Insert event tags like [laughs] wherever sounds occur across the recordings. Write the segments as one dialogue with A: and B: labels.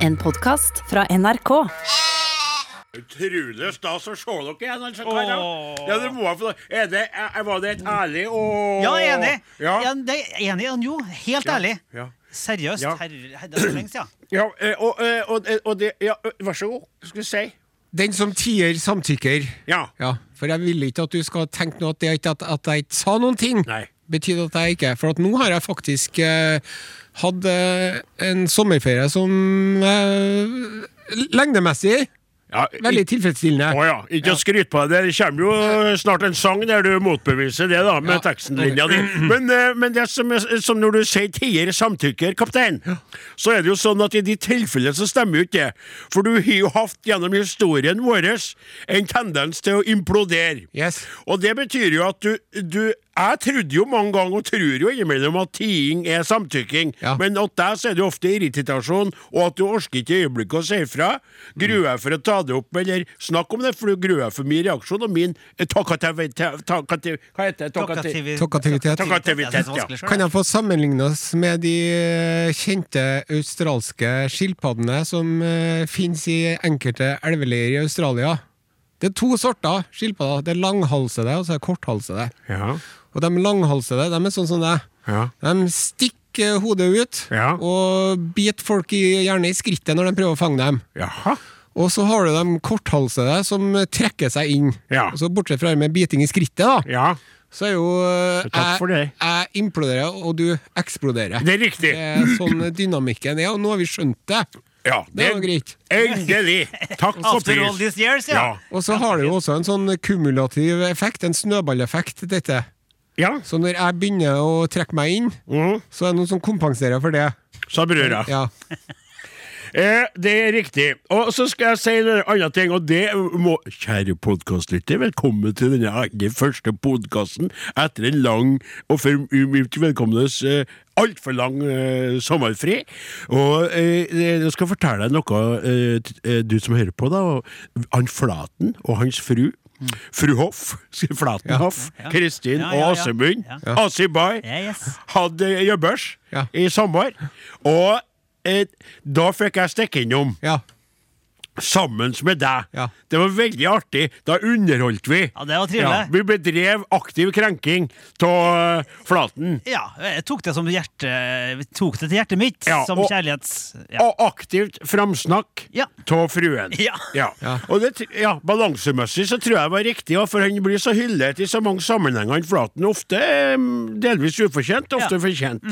A: En podkast fra NRK.
B: Utrolig stas å se dere igjen, altså, karer. Ja, det må jeg få Er det, er, var det et ærlig og
C: Ja, jeg er enig.
B: Ja,
C: Ja, det er enig han jo. Helt ærlig.
B: ja.
C: Seriøst.
B: Ja.
C: Herre, herre, det er så lenge
B: [clears throat]
C: siden.
B: ja eh, og, eh, og, eh, og det Ja, eh, vær så god. Hva skal du si?
D: Den som tier, samtykker.
B: Ja.
D: Ja, For jeg ville ikke at du skal tenke noe at, det, ikke- at, at jeg ikke sa noen ting.
B: Nei.
D: Betyr at jeg ikke For at nå har jeg faktisk eh, hatt eh, en sommerferie som eh, lengdemessig
B: Ja,
D: veldig tilfredsstillende.
B: Å ja. Ikke å skryte på deg. Det kommer jo snart en sang der du motbeviser det, da, med
D: Ja.
B: tekstenlinja di. Men, eh, men det som, er- som når du sier tier samtykker, kaptein, så er det jo sånn at i de tilfellene så stemmer jo ikke det. For du har jo hatt gjennom historien vår en tendens til å implodere.
D: Yes.
B: Og det betyr jo at du, du Jeg trodde jo mange ganger, og tror jo innimellom, at tiing er samtykking.
D: Ja.
B: Men at deg så er det jo ofte irritasjon, og at du orker ikke i øyeblikket å si ifra. Gruer jeg for å ta det opp, eller snakk om det, for du gruer jeg for min reaksjon og min eh, takativi- ta- takati- Hva heter det? Takati-
C: Talkativi-
D: Talkativitet.
B: Talkativitet,
C: Jeg synes det var
B: ja.
C: vanskelig selv,
D: Kan jeg få sammenligne oss med de eh, kjente australske skilpaddene som eh, finnes i enkelte elveleier i Australia? Det er to sorter skilpadder. Det er langhalsede og så er det korthalsede.
B: Ja.
D: Og de langhalsede de er sånn som deg.
B: Ja.
D: De stikker hodet ut
B: Ja.
D: og biter folk i, gjerne i skrittet når de prøver å fange dem.
B: Jaha.
D: Og så har du de korthalsede som trekker seg inn.
B: Ja.
D: Og så Bortsett fra det med biting i skrittet, da
B: Ja.
D: så er jo eh,
B: Takk for det.
D: Jeg, jeg imploderer, og du eksploderer.
B: Det er riktig.
D: er sånn dynamikken er, og nå har vi skjønt det.
B: Ja,
D: Det var greit.
B: Endelig! Takk for
C: After all
B: pris.
C: these years, ja.
B: Ja.
D: Og så har det jo også en sånn kumulativ effekt, en snøballeffekt, dette.
B: Ja.
D: Så når jeg begynner å trekke meg inn,
B: Mhm.
D: så er det noen som kompenserer for det.
B: Sa brødra.
D: Ja.
B: Eh, det er riktig. Og så skal jeg si en annen ting, og det må Kjære podkastlytter, velkommen til denne aller første podkasten etter en lang og for mitt vedkommendes eh, altfor lang eh, sommerfri. Og eh, jeg skal fortelle deg noe, eh, t- eh, du som hører på, da. og Han Flaten og hans fru. Fru Hoff, [laughs] Flaten Hoff,
C: Mm. ja.
B: Kristin
C: Ja,
B: og
C: ja, ja.
B: Assemund,
C: Ja.
B: Asibai,
C: Ja, yes.
B: hadde jobbers
D: Ja.
B: i sommer. Og eh, da fikk jeg stikke innom
D: ja.
B: sammen med deg.
D: Ja.
B: Det var veldig artig. Da underholdt vi.
C: Ja, det var trivelig.
B: vi bedrev aktiv krenking av eh, Flaten.
C: Ja, jeg tok det som hjerte Tok det til hjertet mitt
B: Ja,
C: som
B: og-
C: kjærlighets... Ja.
B: Og aktivt framsnakk
C: Ja.
B: av fruen.
C: Ja.
D: Ja.
B: Og det, tr- ja, balansemessig så tror jeg det var riktig, ja, for han blir så hyllet i så mange sammenhenger, han Flaten. Ofte eh, delvis ufortjent, ofte
C: Ja. Mm.
B: fortjent.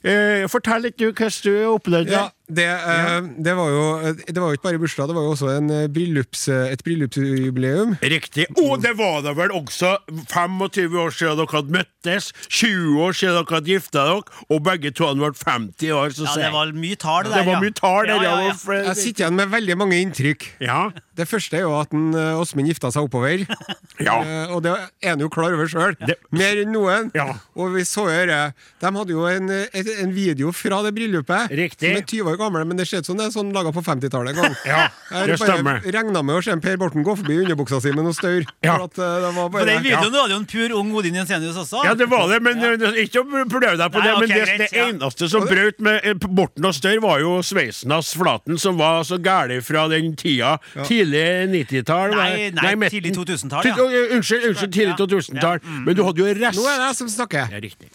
B: Eh, fortell litt, du, hvordan du opplevde
D: ja
B: det.
D: det, eh, det var jo Det var jo ikke bare bursdag, det var jo også en eh, bryllups, et bryllupsjubileum.
B: Riktig.
D: Mm.
B: Og det var det vel også 25 år siden dere hadde møttes, 20 år siden dere hadde gifta dere, og begge to hadde vært 50 år. Så
C: ja,
B: sier
C: det
B: jeg.
C: var mye tall, det
B: det
C: der.
B: var
C: ja.
B: mye tall der.
C: Ja, ja,
B: ja,
C: ja.
B: for-
D: Jeg sitter igjen med veldig mange inntrykk.
B: Ja,
D: Det første er jo at en, eh, Åsmund gifta seg oppover.
B: [laughs] ja.
D: Eh, og det er han jo klar over sjøl.
B: Det-
D: Mer enn noen.
B: Ja.
D: Og vi så jo det. De hadde jo en, et, en video fra det bryllupet.
B: Riktig.
D: Som er 20 år gammel, men det ser ut som det er sånn laga på 50-tallet en gang.
B: [laughs] Ja, det stemmer.
D: Jeg regna med å se en Per Borten gå forbi i underbuksa si med noe staur.
B: Ja.
D: For at, eh, det var
C: På
D: bare
C: den videoen var det jo en pur ung Odin Jensenius også.
B: Ja, det var det, men eh, ikke å prøve deg på
C: Nei,
B: det. Men
C: ok,
B: det,
C: greit,
B: det
C: ja.
B: eneste som brøt med eh, Borten og Størr, var jo sveisen hans Flaten, som var så gæli fra den tida. Tidlig 90-tall. var-
C: Nei, nei,
B: midten.
C: tidlig 2000-tall,
B: Tid-
C: ja.
B: Oi, Unnskyld, unnskyld, tidlig
C: Ja, mm.
B: 2000-tall. Men du hadde jo rest...
D: Nå er det jeg som snakker.
B: Ja, riktig.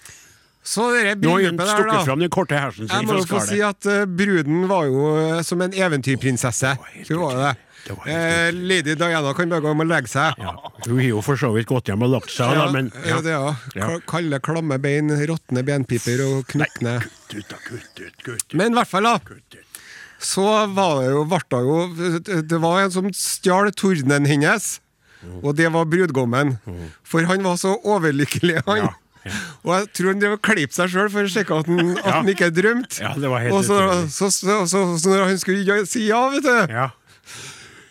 D: Så det
B: Nå har hun
D: bryllupet der,
B: stukket
D: da.
B: fram den korte hersen
D: Jeg
B: sin
D: må
B: fra
D: jo få
B: skallet.
D: si at eh, bruden var jo eh, som en eventyrprinsesse.
B: var helt
D: Hun var jo det.
B: utrolig. Det var helt
D: Eh, Lady Diana kan bare gå hjem og legge seg.
B: Ja. Hun har jo for så vidt gått hjem og lagt seg, da, men
D: ja. det, ja.
B: Ja.
D: Ka- Kalde, klamme bein, råtne benpiper og knukne
B: Kutt ut, da. Kutt ut, kutt ut.
D: Men i hvert fall, da.
B: kutt ut.
D: Så var det jo, ble jo Det var en som stjal tordenen hennes, og det var brudgommen. For han var så overlykkelig, han.
B: Ja,
D: Og jeg tror han drev og kleip seg sjøl for å sjekke at han, at han ikke drømte.
B: Ja, det var helt
D: og så,
B: utrolig.
D: så, så, så, så når han skulle ja- si ja, vet du [laughs]
B: Ja.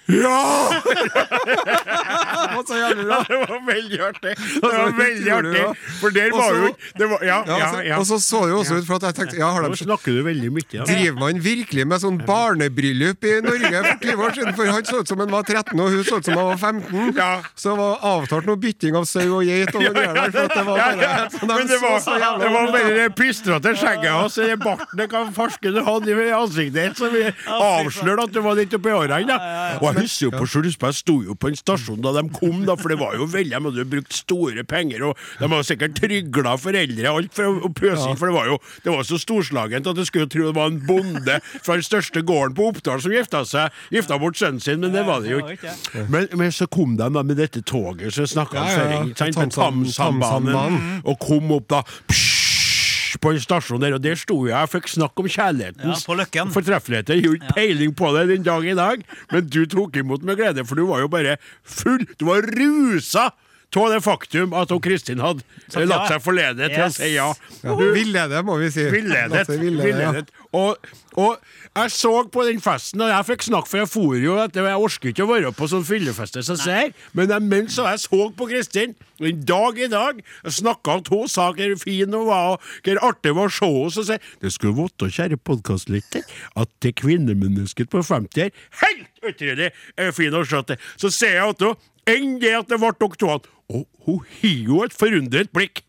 B: Ja! [laughs]
D: Det var så jævlig bra.
B: Det var veldig artig. Det
D: Altså,
B: var veldig
D: gjorde du
B: artig.
D: det?
B: For der var jo
D: Og så-
B: det var, Ja,
D: Ja,
B: ja,
D: altså,
B: ja.
D: Og så så det jo også ut, for at jeg tenkte ja, har
B: Nå
D: de
B: snakker du veldig mye. Ja.
D: Driver man virkelig med sånn barnebryllup i Norge for 20 år siden? For han så ut som han var 13, og hun så ut som han var 15.
B: Ja.
D: Så det var avtalt noe bytting av sau og geit. Og noe greier der, for at det var
B: Ja,
D: bare,
B: ja.
D: så de
B: Men det
D: så
B: var,
D: så jævla
B: det var
D: bra ut.
B: bare det pistrete skjegget hans og den barten det kan farsken hadde i ansiktet ditt, som avslørte at du var litt oppi årene. da. Og jeg husker jo på Skjulsberg, jeg sto jo på en stasjon da de kom, da, for det var jo veldig, de hadde jo brukt store penger, og de hadde sikkert trygla foreldre og alt for å pøse inn, for det var jo det var så storslagent at du skulle tro det var en bonde fra den største gården på Oppdal som gifta seg, gifta bort sønnen sin, men det var det jo ikke. Men, men så kom de da med dette toget, så snakka
D: Ja,
B: han
D: ja,
B: føring,
D: ja.
B: sant, med
D: Tamsam-
B: Tamsambanen
D: Tamsambanen.
B: og kom opp da psh, på en stasjon der, og der sto jeg og fikk snakk om kjærlighetens
C: Ja, på Løkken.
B: fortreffeligheter. Jeg har ikke peiling på det den dag i dag, men du tok imot med glede, for du var jo bare full. Du var rusa av det faktum at hun Kristin hadde
C: Sagt
B: eh, latt
C: ja.
B: seg forlede til å
C: Yes.
B: si ja.
D: Ja, Villede, må vi si.
B: Villedet.
D: Altså, villede, ja.
B: villedet. Og, og jeg så på den festen, og jeg fikk snakk, for jeg for jo at jeg orker ikke å være på sånn fyllefest som så her, men jeg- mens jeg så på Kristin, og en dag i dag, jeg snakka om to saker, hvor fin hun var, og hvor artig det var å se henne, så sier jeg, det skulle våtte, kjære podkastlytter, at det kvinnemennesket på 50 her, helt utrolig eh, fin å se til. Så sier jeg til henne, enn det at det ble dere to, og hun har jo et forundret blikk.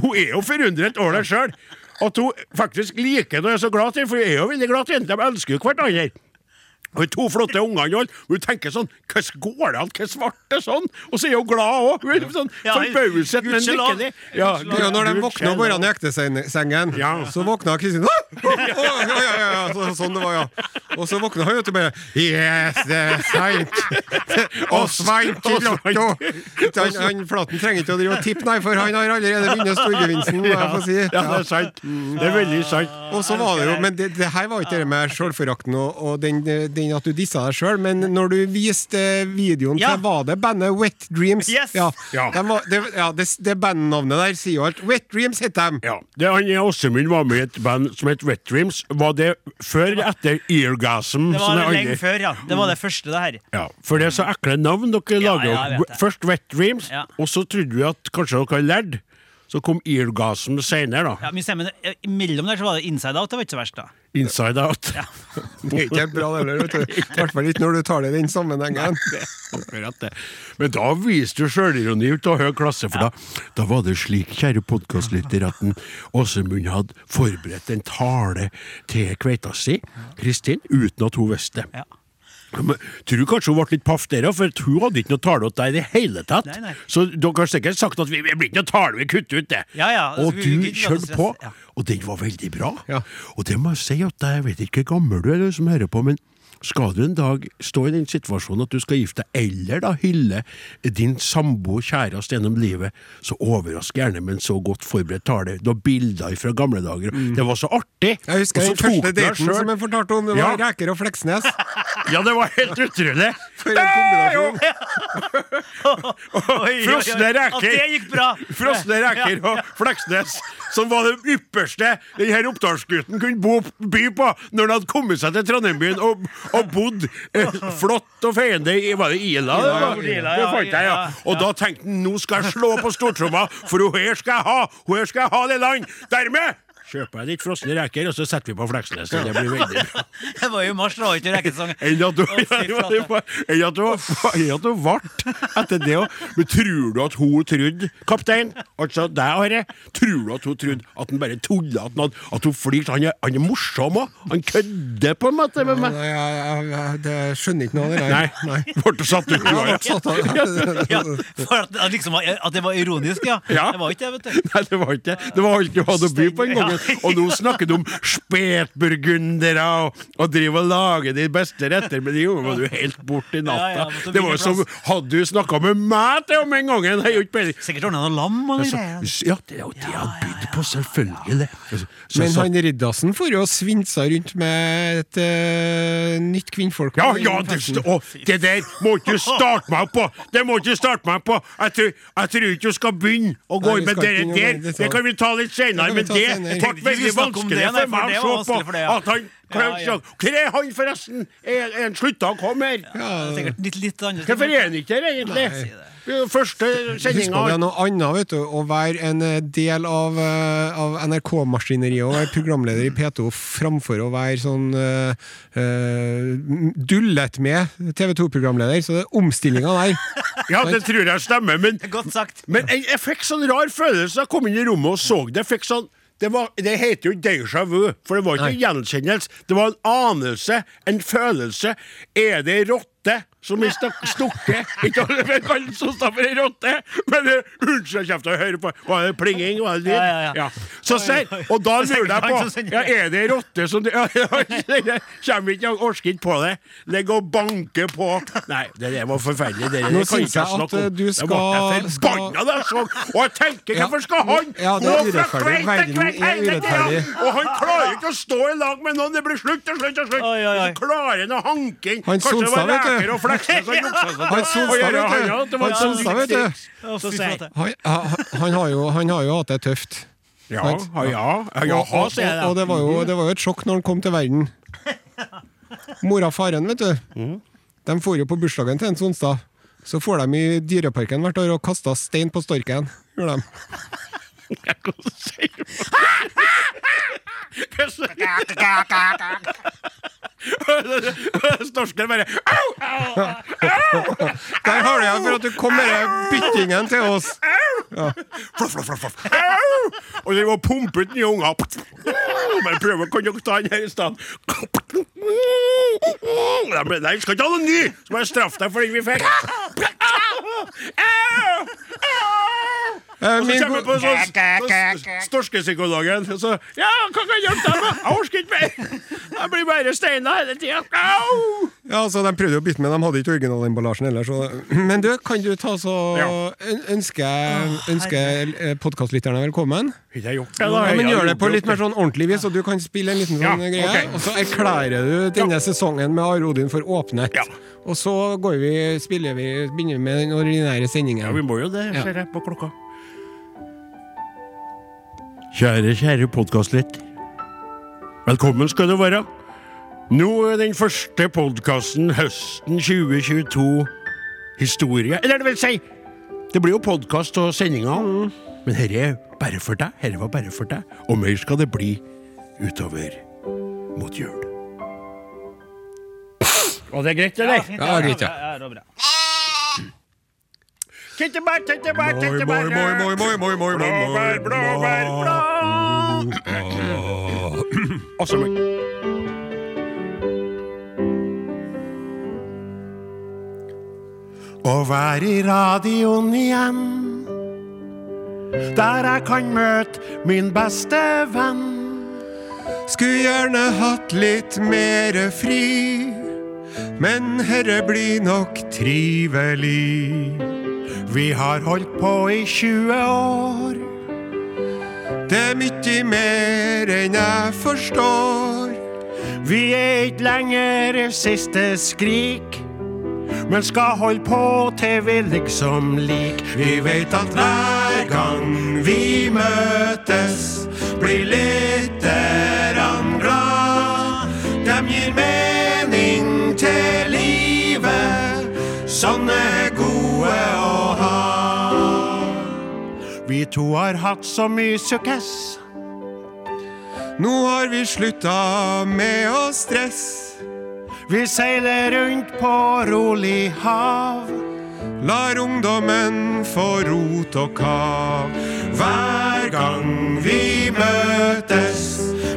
B: Hun er jo forundret over det sjøl. At hun faktisk liker det og er så glad til, for hun er jo veldig glad til henne. De elsker jo hverandre. Og de to flotte ungene og alt. Hun tenker sånn Hvordan går det an? Hvordan ble det sånn? Og så er hun glad òg. Hun er sånn
C: Ja,
B: forbauset, men
C: gudskjelov.
B: lykkelig. Ja,
D: Det er jo når
B: gudskjelov.
D: de våkna om morgenen i ektesengen,
B: Ja.
D: så våkna Kristin «Åh! Åh! Åh! ja, ja, ja, så, Sånn det var, ja. Og så våkna han, vet du, bare Yes, det er seint! Og sveint i lotto! Han, han Flaten trenger ikke å drive og tippe, nei, for han har allerede vunnet storgevinsten, må jeg få si.
B: Ja, det er sant. Det er veldig sant.
D: Og så var det jo, men det, det her var ikke det med sjølforakten og, og den, den at du dissa deg sjøl, men når du viste videoen
C: Ja.
D: til Var det bandet Wet Dreams?
C: Yes.
D: Ja,
B: Ja.
D: dem var, det, ja det, det bandnavnet der sier jo alt. Wet Dreams heter de!
B: Ja. Det han i Åsemund var med i et band som het Wet Dreams. Var det før eller etter Eargasm?
C: Det
B: som
C: var
B: det andre-
C: lenge før, ja. Det var det første, det her.
B: Ja, for det er så ekle navn dere
C: Ja,
B: lager.
C: ja, jeg vet det.
B: Først Wet Dreams,
C: Ja.
B: og så trodde vi at kanskje dere hadde lært. Så kom Eargasm senere, da.
C: Ja, men stemmen, eh, Imellom der så var det Inside Out, det var ikke så verst, da.
B: Inside Out. [laughs]
D: Det er ikke bra, det heller, vet du. I hvert fall ikke når du tar det i den sammenhengen.
B: Akkurat det. Men da viste du sjølironi ut av høy klasse, for da, da var det slik, kjære podkastlytter, at en Åsemund hadde forberedt en tale til kveita si, Kristin, uten at hun visste det.
C: Ja. [laughs]
B: Men, tror du kanskje hun ble litt paff der, ja, for hun hadde ikke noe tale til deg i det hele tatt.
C: Nei, nei.
B: Så dere har sikkert sagt at vi, vi blir ikke noe tale, vi kutter ut det.
C: Ja, ja, altså,
B: og
C: vi-
B: du
C: vi- vi-
B: kjørte på,
C: ja.
B: og den var veldig bra.
D: Ja.
B: Og det må jeg si at jeg vet ikke hvor gammel du er, du som hører på, men skal du en dag stå i den situasjonen at du skal gifte deg, eller da hylle din samboer kjæreste gjennom livet, så overrask gjerne med en så godt forberedt tale. Du har bilder fra gamle dager. Det var så artig!
D: Mm. Jeg husker
B: Og så
D: den første
B: tok du deg
D: daten
B: selv.
D: som jeg fortalte om. Det
B: Ja.
D: var Ræker og Fleksnes.
B: Ja, det var helt utrolig! [laughs]
D: For en kombinasjon.
C: Oi, oi, oi.
B: Frosne reker.
C: At det gikk bra!
B: Frosne reker og Fleksnes, som var det ypperste denne oppdalsgutten kunne bo, by på når han hadde kommet seg til Trondheimbyen og, og bodd eh, flott og feiende i Var det Ila? det var?
C: Ja, Ila,
B: Det
C: ja,
B: fant jeg, ja.
C: ja,
B: Og da tenkte han nå skal jeg slå på stortromma, for hun her skal jeg ha! Hun her skal jeg ha det land! Dermed kjøper jeg litt frosne reker, og så setter vi på Fleksnes. og Det blir veldig bra.
C: Det var jo i mars, det var jo ikke rekesesong.
B: Enn at du
C: Å, fy flate.
B: Enn at du enn at du ble etter det òg. Men tror du at hun trodde, kaptein, altså deg, Are, tror du at hun trodde at han bare tulla, at, han hadde- at hun flirte? Han, er- han er morsom òg. Han kødder på en måte med
D: Nei,
B: meg.
D: jeg, jeg, jeg, det skjønner ikke noe av det
B: Nei.
D: der. Nei.
B: Ble du satt ut?
D: Ja,
B: Are?
D: det satt han.
C: Ja, for at, at, liksom, var- at det var ironisk, ja.
B: Ja.
C: Det var ikke det, vet du.
B: Nei, det var ikke det. Det var alt du hadde å by på den gangen.
C: Ja.
B: Og nå snakker du om spetburgundere og, og driver og lager de beste retter, men det var du helt bort i natta.
C: Ja, ja, måtte
B: det var jo
C: vinne
B: som Hadde du snakka med meg til om en gang, jeg har jo ikke peiling.
C: Sikkert ordna noe lam og noe
B: Altså,
C: greier.
B: ja, det er jo det han bydde på, selvfølgelig. Altså, så jeg
D: Men
B: sa-
D: han Riddarsen for jo og svinsa rundt med et eh, nytt kvinnfolk.
B: ja, ja, det, st- å, det der må ikke du starte meg på! Det må ikke du starte meg på! Jeg tror, jeg tror ikke du skal begynne å gå
D: Nei, vi
B: inn med
D: skal
B: det
D: ikke
B: der.
D: gjøre det, så-
B: Det kan vi ta litt senere,
D: Det
B: men
D: kan vi
B: det
D: ta senere.
B: ble
C: Vi
B: veldig
C: skal snakke om
B: vanskelig
C: det, nei,
B: for
C: for
B: meg
C: det
B: å
C: var
B: se
C: vanskelig
B: på
C: for det, ja.
B: at han Klaus
C: Ja, ja.
B: Jakob. Hvor er han, forresten? Er er han slutta å komme her?
C: Det er Sikkert litt, litt andre
B: Hvorfor er han ikke her, egentlig?
C: Nei.
B: Det er jo Første
D: Husk på, det er
B: sendinga
D: noe annet vet du, å være en eh, del av, eh, av NRK-maskineriet og være programleder i P2 framfor å være sånn eh, eh, dullet med TV 2-programleder. Så det er omstillinga der.
B: Ja, det tror jeg stemmer, men
C: Godt sagt.
B: [laughs] Men jeg, jeg fikk sånn rar følelse da jeg kom inn i rommet og så det. Jeg fikk sånn det, var, det heter jo déjà vu, for det var ikke
D: Nei.
B: en gjenkjennelse. Det var en anelse, en følelse. Er det ei rotte som er stak-
C: [laughs]
B: stukket? Ikke alle vet hva som står for ei rotte, men eh, unnskyld, kjeft, jeg hører på. Var det plinging? Var det lyd?
C: Ja, ja, ja.
B: Så ser, og da
C: Det
B: lurer
C: er sikkert
B: jeg på
C: han som sender
B: ja,
C: det.
B: Er det ei rotte som [laughs] ja, ja, Jeg kommer ikke, jeg orker ikke på det. Legg og banke på. Nei, det der var forferdelig. Det der
D: Nå
B: det kan
D: synes
B: ikke
D: jeg at,
B: snakke om.
D: eh,
B: Det
D: du
B: ble jeg
D: skal-
B: forbanna da jeg så Og jeg tenker,
D: Ja.
B: hvorfor skal han
D: Ja, det er
B: gå fra
D: urettferdig.
B: kveld til
D: Verden
B: kveld
D: er
B: hele tiden?
D: urettferdig.
B: Og han klarer ikke å stå i lag med noen! Det blir slutt og slutt og slutt!
C: Oi, oi, oi.
B: Så klarer han å hanke inn
D: Han
B: Kanskje det var
D: Solstad, vet du.
B: Læker og Fleksnes som juksa seg
D: Han
B: til å
D: Solstad,
B: gjøre
D: vet du.
B: han, ja, det var
D: Han
B: sånn
D: Solstad, vet du.
B: riktig.
C: Å,
B: Så
C: fy
B: sier-
C: flate.
D: Han, ha- han, har jo, han har jo hatt det tøft.
B: Ja, ja, ja, jaha,
D: og,
B: sier jeg
D: og
B: da.
D: det var, jo, det var jo et sjokk når han kom til verden. Mora og faren, vet du. De for jo på bursdagen til Jens Onsdag. Så for de i Dyreparken hvert år og kasta stein på storken. Gjorde de.
B: Hva sier man? Storsken bare Au!
D: Der har du igjen for at du kom med den byttingen til oss!
B: Fluff, fluff, fluff, fluff. Au! Og de må pumpe ut nye unger. Men prøver kan dere ta den her i stedet. Nei, men Nei, vi skal ikke ha noen ny! Så må jeg straffe deg for den vi fikk. Au! Au!
D: Eh,
B: Og så
D: min
B: kommer jeg på
D: go-
B: sånn så- storskepsykologen. og Så, ja, hva kan jeg hjelpe deg med? Jeg orker ikke mer! Jeg blir bare steina hele tida. Au!
D: Ja, altså, De prøvde jo å bytte med, de hadde ikke originalemballasjen heller. Så. Men du, kan du ta så
B: Ja.
D: øn- ønske, ønske podkastlytterne velkommen?
B: Ikke jeg gjort det, da.
D: Ja, men
B: Jeg
D: Gjør det
B: gjorde
D: på
B: jo
D: litt mer sånn ordentlig vis, og du kan spille en liten
B: Ja,
D: sånn greie.
B: ok.
D: Og så erklærer du denne sesongen med Are Odin for åpnet.
B: Ja.
D: Og så går vi, spiller vi, begynner vi med den ordinære sendingen.
B: Ja, vi må jo det, ser jeg på klokka. Kjære, kjære podkastlytt. Velkommen skal du være. Nå er den første podkasten høsten 2022 historie. Eller det vil si, det blir jo podkast og sendinger, men herre er bare for deg. Herre var bare for deg. Og mer skal det bli utover mot jul. Var det greit, eller?
C: fint,
D: Ja, greit, ja.
C: ja, det var bra.
B: Kittebær, kittebær, kittebær.
D: Moi, moi, moi, moi, moi, moi, moi,
B: Blåbær, blåbær, blå! Og så Å være i radioen igjen Der jeg kan møte min beste venn
D: Skulle gjerne hatt litt mere fri, men herre blir nok trivelig.
B: Vi har holdt på i 20 år
D: Det er mye mer enn jeg forstår.
B: Vi er ikke lenger siste skrik Men skal holde på til vi liksom lik
D: Vi veit at hver gang vi møtes, blir lytterne glad. Dem gir mening til livet, sånne er gode å ha.
B: Vi to har hatt så mye sukkes
D: Nå har vi slutta med å stresse.
B: Vi seiler rundt på rolig hav
D: Lar ungdommen få rot og kav. Hver gang vi møtes,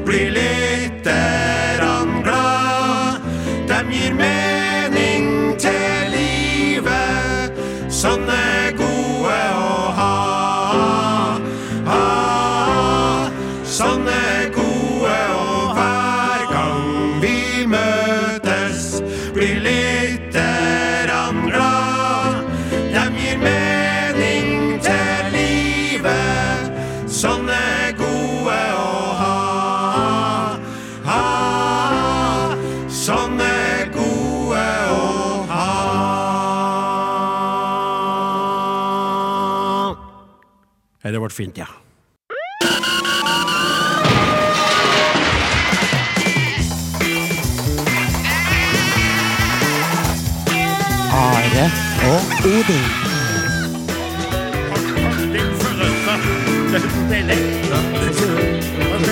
D: blir lytterne glad. Dem gir mening til livet. Sånne er gode å ha. Ah, Sånne er gode å hver gang vi møtes, blir lytterne glad. Dem gir mening til livet, sånne er gode å ha. ha. Sånne er gode å ha.
B: Ja, det ble fint, ja
D: og Odin.
B: Den forrøsta. Den deilig. Ok.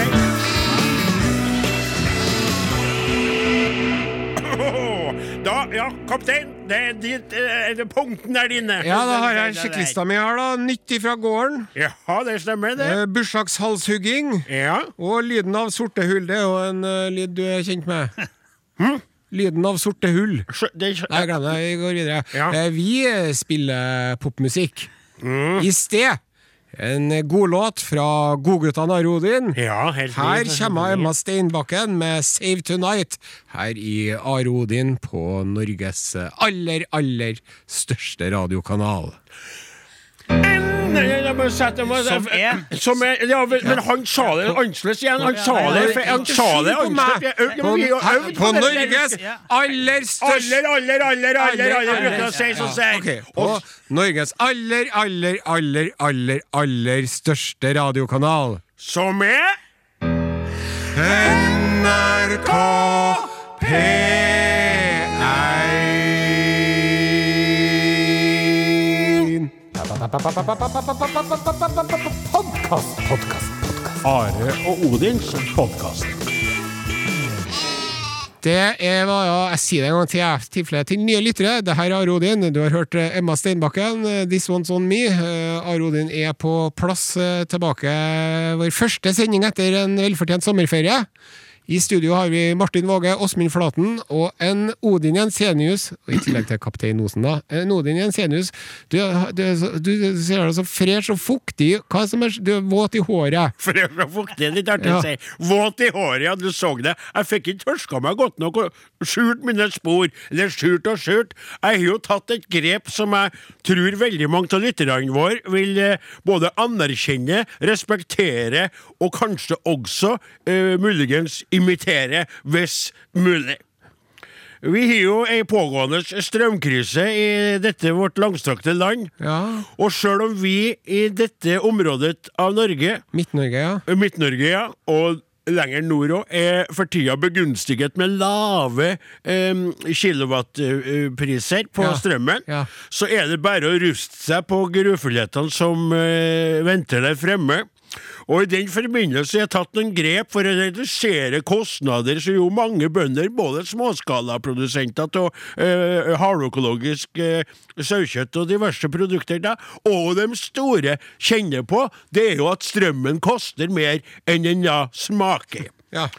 B: Da, ja, kaptein, det er ditt, eh, det er punkten der inne.
D: Ja, da har jeg sjekklista mi her, da. Nytt ifra gården.
B: Ja, det stemmer, det.
D: Eh, Bursdagshalshugging.
B: Ja.
D: Og lyden av sorte hull. Det er jo en eh, lyd du er kjent
B: [laughs]
D: med. Hm? Lyden av sorte hull.
B: Skjø- det skjø-
D: Nei, glem det. Vi går videre.
B: Ja.
D: Eh, Vi eh, spiller popmusikk.
B: Mm.
D: I sted en god låt fra Godguttene og Rodin.
B: Ja, helt
D: Her
B: riktig.
D: kommer Emma Steinbakken med Save Tonight her i Arodin på Norges aller, aller største radiokanal.
B: Nei, eh, jeg må sette meg-
C: Som er?
B: Som er ja, men, men han sa det annerledes igjen. Han sa det Han sa det
D: Skyld
B: annerledes. Jeg øvde-
D: på meg. På,
B: jeg
D: her,
B: øvde
D: på
B: det.
D: Norges
C: Ja.
D: aller
B: Aller,
D: største
B: aller, aller, aller, aller bruker å si som sier.
D: Ok, På
B: Og-
D: Norges aller, aller, aller, aller, aller største radiokanal.
B: Som er
D: NRK P1
B: Are og Odins podkast.
D: Det er, hva- ja, jeg sier det en gang til, jeg, tilfelle til nye lyttere. Det her er Are Odin. Du har hørt eh, Emma Steinbakken, eh, This One's On Me. Eh, Are Odin er på plass eh, tilbake vår første sending etter en velfortjent sommerferie. I studio har vi Martin Våge, Åsmund Flaten og en Odin Jensenius. Og I tillegg til kaptein Osen, da. En Odin Jensenius, du, du, du, du ser deg så fresh og fuktig Hva som er, Du er våt i håret.
B: [laughs] For det var fuktig, litt artig å si. Våt i håret, ja, du så det. Jeg fikk ikke tørska meg godt nok og skjult mine spor. Eller skjult og skjult. Jeg har jo tatt et grep som jeg tror veldig mange av lytterne våre vil eh, både anerkjenne, respektere og kanskje også eh, muligens imitere, hvis mulig. Vi har jo ei pågående strømkrise i dette vårt langstrakte land.
D: Ja.
B: Og sjøl om vi i dette området av Norge
D: Midt-Norge, ja.
B: Midt-Norge, ja, og lenger nord òg, er for tida begunstiget med lave em, kilowattpriser på
D: Ja,
B: strømmen.
D: ja.
B: Så er det bare å ruste seg på grufullhetene som eh, venter der fremme. Og i den forbindelse er jeg tatt noen grep for å redusere kostnader, så jo mange bønder, både småskalaprodusenter av eh, halvøkologisk eh, sauekjøtt og diverse produkter, da, og de store kjenner på, det er jo at strømmen koster mer enn den da smaker.
D: ja.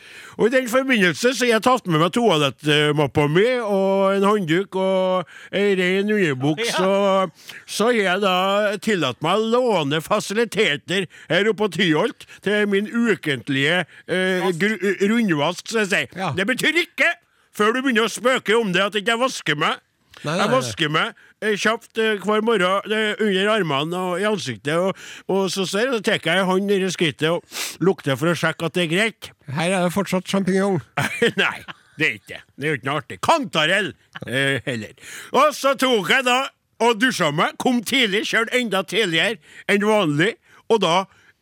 B: Og I den forbindelse så har jeg tatt med meg toalettmappa mi og en håndduk og ei rein underbuks. Og så har jeg da tillatt meg å låne fasiliteter her oppe på Tyholt til min ukentlige eh, gru- rundvask, som jeg sier.
D: Ja.
B: Det betyr ikke, før du begynner å spøke om det, at jeg ikke vasker meg.
D: Nei, nei,
B: jeg
D: nei.
B: vasker meg eh, kjapt eh, hver morgen eh, under armene og i ansiktet, og, og så ser jeg, så tar jeg en hånd ned i skrittet og lukter for å sjekke at det er greit.
D: Her er det fortsatt sjampinjong.
B: [laughs] Nei, det er ikke det. Det er jo ikke noe artig. Kantarell eh, heller. Og så tok jeg da og dusja meg. Kom tidlig, kjørte enda tidligere enn vanlig. Og da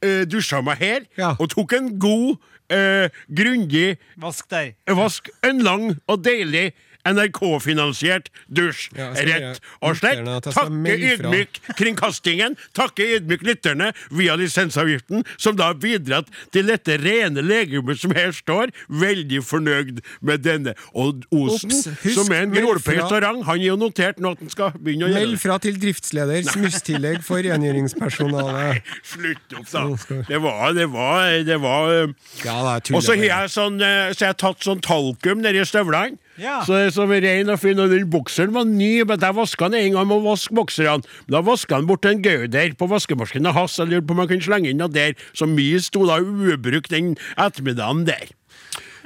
B: eh, dusja meg her,
D: Ja.
B: og tok en god, eh, grundig
C: Vask deg.
B: vask. En lang og deilig NRK-finansiert dusj.
D: Ja, jeg skal
B: Rett
D: gjøre
B: og slett.
D: lytterne at jeg skal
B: Takke
D: melde fra.
B: ydmyk kringkastingen, takke ydmyk lytterne via lisensavgiften, som da har bidratt til dette rene legemet som her står. Veldig fornøyd med denne. Og Osen,
D: Ops, husk,
B: som er en
D: meld
B: grålpøy
D: fra.
B: restaurant, han er jo notert nå at han skal begynne å
D: Meld
B: gjøre det.
D: fra til driftsleder, smusstillegg
B: [laughs]
D: for rengjøringspersonalet.
B: Slutt opp, da. Det var, det var, det var eh,
D: Ja, det er tull.
B: Og så har jeg, sånn, eh, så jeg har tatt sånn talkum nedi støvlene.
C: Ja.
B: Så det er som er rein og fin. Og den bokseren var ny, men jeg vaska den en gang med å vaske bokserne. Men Da vaska han bort en gauder på vaskemaskinen hans. Jeg lurte på om han kunne slenge inn noe der. Så mye sto da ubrukt den ettermiddagen der.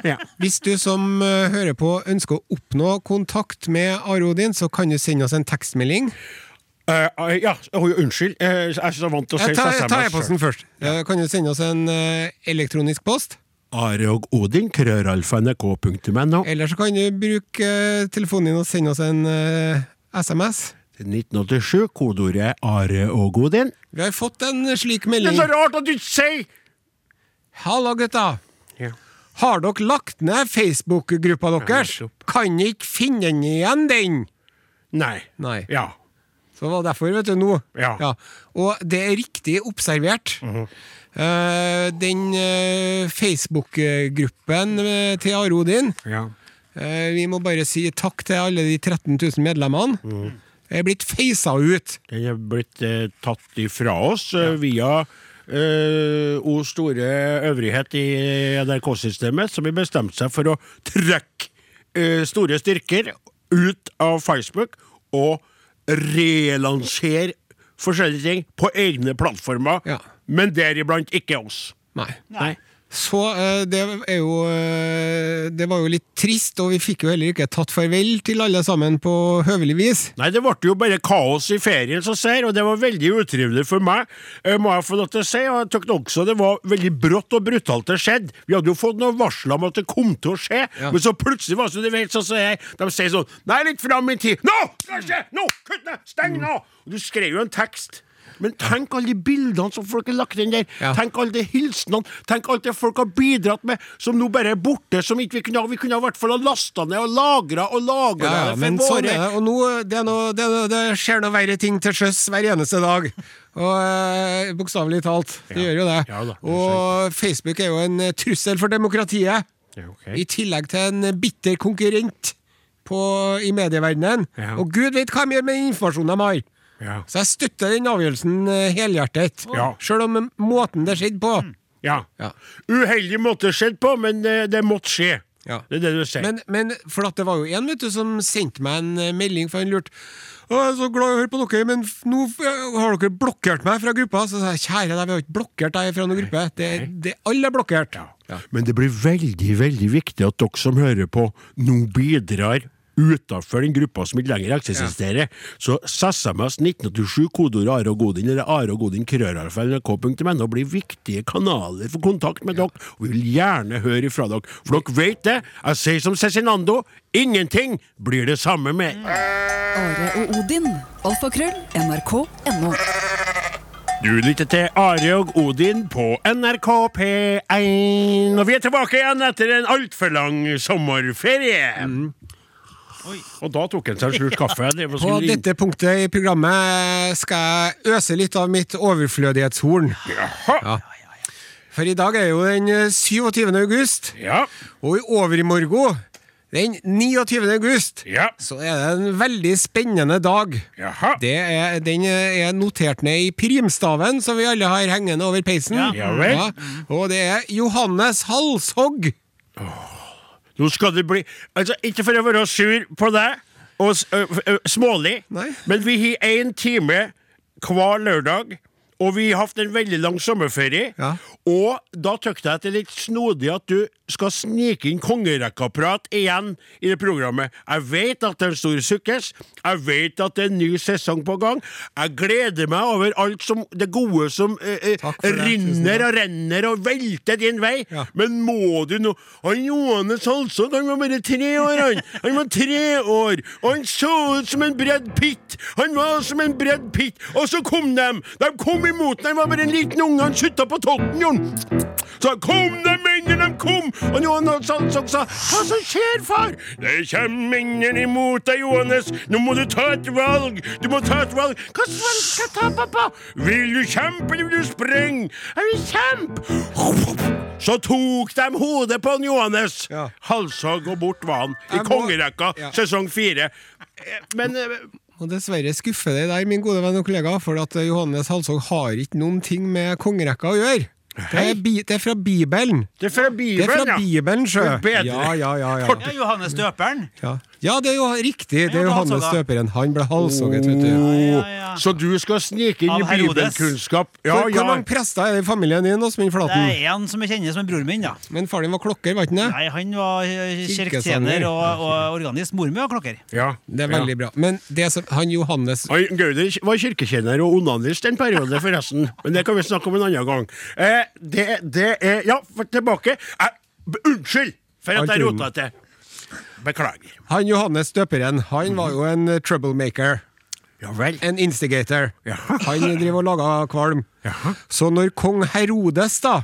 B: Ja.
D: Hvis du som eh, hører på ønsker å oppnå kontakt med Are Odin, så kan du sende oss en tekstmelding.
B: Eh, ja, oi, unnskyld. Eh, jeg er så vant til å si
D: Jeg tar,
B: SMS.
D: tar e-posten først. Eh, Kan du sende oss en eh, elektronisk post?
B: Are og Odin, krøralfa.nrk.no.
D: Eller så kan du bruke eh, telefonen din og sende oss en eh, SMS.
B: 1987, kodeordet er Are og Odin.
D: Vi har fått en slik
B: Det er
D: melding.
B: så rart at du ikke sier
D: Hallo, gutta!
B: Ja.
D: Har dere lagt ned Facebook-gruppa deres?
B: nettopp.
D: Kan ikke finne den igjen, den!
B: Nei.
D: Nei.
B: Ja.
D: Så det var derfor, vet du, nå.
B: Ja.
D: Og det er riktig observert. Eh, den eh, Facebook-gruppen eh, til Arodin
B: Ja.
D: eh, Vi må bare si takk til alle de 13 000 medlemmene. Jeg er blitt feisa ut.
B: Den er blitt eh, tatt ifra oss eh, via eh, O store øvrighet i NRK-systemet, som har bestemt seg for å trekke eh, store styrker ut av Facebook og relansere forskjellige ting på egne plattformer,
D: Ja.
B: men deriblant ikke oss.
D: Nei.
C: Nei.
D: Så eh, det er jo eh, Det var jo litt trist, og vi fikk jo heller ikke tatt farvel til alle sammen på høvelig vis.
B: Nei, det ble jo bare kaos i ferien, som ser, og det var veldig utrivelig for meg, eh, må jeg få lov til å si. Og jeg tykte også det var veldig brått og brutalt det skjedde. Vi hadde jo fått noen varsler om at det kom til å skje,
D: Ja.
B: men så plutselig var det sånn, det vet, sånn som jeg, de sier sånn Nei, litt fram i tid. Nå! Skal det skje! Nå! Kutt ned! Steng
D: Mm.
B: nå! Og du skrev jo en tekst. Men tenk alle de bildene som folk har lagt inn der.
D: Ja.
B: Tenk alle de hilsenene. Tenk alt det folk har bidratt med, som nå bare er borte. som ikke Vi kunne ha Vi kunne ha i hvert fall ha lasta ned og lagra og lagra
D: Ja, ja,
B: det for
D: men
B: våre
D: sånn er det. Og nå det, er noe, det, er noe, det skjer noe verre ting til sjøs hver eneste dag. Og eh, Bokstavelig talt. Det gjør jo det.
B: Ja da, det
D: og Facebook er jo en eh, trussel for demokratiet.
B: Ja, ok.
D: I tillegg til en eh, bitter konkurrent på, i medieverdenen.
B: Ja.
D: Og gud vet hva de gjør med den informasjonen de har!
B: Ja.
D: Så jeg støtter den avgjørelsen eh, helhjertet.
B: Ja. Mm.
D: Sjøl om eh, måten det skjedde på.
B: Ja.
D: Ja.
B: Uheldig måte skjedd på, men eh, det måtte skje.
D: Ja.
B: Det er det du sier.
D: Men, men for at det var jo en vet du, som sendte meg en eh, melding, for han lurte «Å, Jeg er så glad i å høre på dere, men f- nå f- har dere blokkert meg fra gruppa. Så sa jeg kjære deg, vi har ikke blokkert deg fra noen gruppe. Det, det, alle er blokkert. Ja.
B: Men det blir veldig veldig viktig at dere som hører på, nå bidrar utenfor den gruppa som ikke lenger eksisterer. Så SMS 1987, kodeord Are og Godin eller Are og Godin krøllalfa nrk.no blir viktige kanaler for kontakt med dere. Og vi vil gjerne høre ifra dere, for dere vet det. Jeg sier som Cezinando, ingenting blir det samme med
A: Are og Odin. Alfakrøll. NRK.no.
B: Du lytter til Are og Odin på NRK P1, og vi er tilbake igjen etter en altfor lang sommerferie.
C: Oi.
B: Og da tok han seg en slurk kaffe. Det var
D: På
B: skulle ringe.
D: dette punktet i programmet skal jeg øse litt av mitt overflødighetshorn.
B: Jaha.
D: For i dag er jo den eh, 27. august,
B: Ja.
D: og i overmorgen, den 29. august,
B: Ja.
D: så er det en veldig spennende dag.
B: Jaha.
D: [laughs] Det er, den er notert ned i primstaven, som vi alle har hengende over peisen.
C: Ja.
B: Ja vel.
D: Og det er Johannes Halshogg.
B: Nå skal det bli Altså, ikke for å være sur på deg og s- ø, ø, smålig,
D: Nei.
B: men vi har én time hver lørdag. Og vi har hatt en veldig lang sommerferie.
D: Ja.
B: Og da tykte jeg at det er litt snodig at du skal snike inn kongerekkaprat igjen i det programmet. Jeg vet at det er en stor sukkes. Jeg vet at det er en ny sesong på gang. Jeg gleder meg over alt som, det gode som ø, ø,
D: Takk for det. Tusen takk.
B: rinner og renner og velter din vei.
D: Ja.
B: Men må du nå Han Johannes Halsson, han var bare tre år, han. Han var tre år, og han så ut som en Brad Pitt. Han var som en Brad Pitt. Og så kom de! De kom imot ham. Han var bare en liten unge, han sutta på totten, Jon. Så kom de mennene, de kom! Og Johannes Hansson sa sånn, Hva som skjer, far? Det kommer mennene imot deg, Johannes. Nå må du ta et valg. Du må ta et valg. Hva slags valg skal jeg ta, pappa? Vil du kjempe, eller vil du spreng? Jeg vil kjempe! Så tok de hodet på han, Johannes.
D: Ja.
B: Halshogg og bort var han. I
D: Jeg må-
B: kongerekka,
D: Ja.
B: sesong fire. Eh, Men eh,
D: Og dessverre skuffer det deg, min gode venn og kollega, for at Johannes Halshogg har ikke noen ting med kongerekka å gjøre. Det
B: Hei.
D: er, bi, det er fra Bibelen.
B: det er fra
D: Det er
B: Bibelen,
D: fra Bibelen, sjø.
B: Det er bedre.
D: Ja, ja, ja, ja.
C: Ja, Johannes døperen.
D: ja. ja, det er jo riktig. Det
C: ble
D: er Johannes
C: halshogget.
D: døperen. Han ble halshogget, vet du.
B: Åh,
C: ja.
B: Oh. Så du skal snike inn
C: Av
B: i
C: Herodes.
B: bibelkunnskap? Ja,
D: Hvor, hvor
B: ja.
D: mange prester er det i familien din, Åsmund
C: Det
D: Flaten?
C: er en som jeg kjenner som er broren min, da.
D: Men far din var klokker, var ikke han det?
C: Nei, han var eh, kirkesanger
D: Kirkesanger.
C: og, og organist. Mor mi var klokker.
B: ja.
D: Det er veldig bra. Men det som, han Johannes
B: Han Gauder var kirkekjenner og onanist en periode, forresten. Men det kan vi snakke om en annen gang. Eh, det, det er Ja, for tilbake. Eh, b- unnskyld for at
D: Alt
B: jeg
D: i
B: rota til. Beklager.
D: Han Johannes døperen, han var jo en eh, troublemaker.
B: Ja vel.
D: En instigator.
B: Ja.
D: Han driver og lager kvalm.
B: Jaha.
D: Så når kong Herodes, da,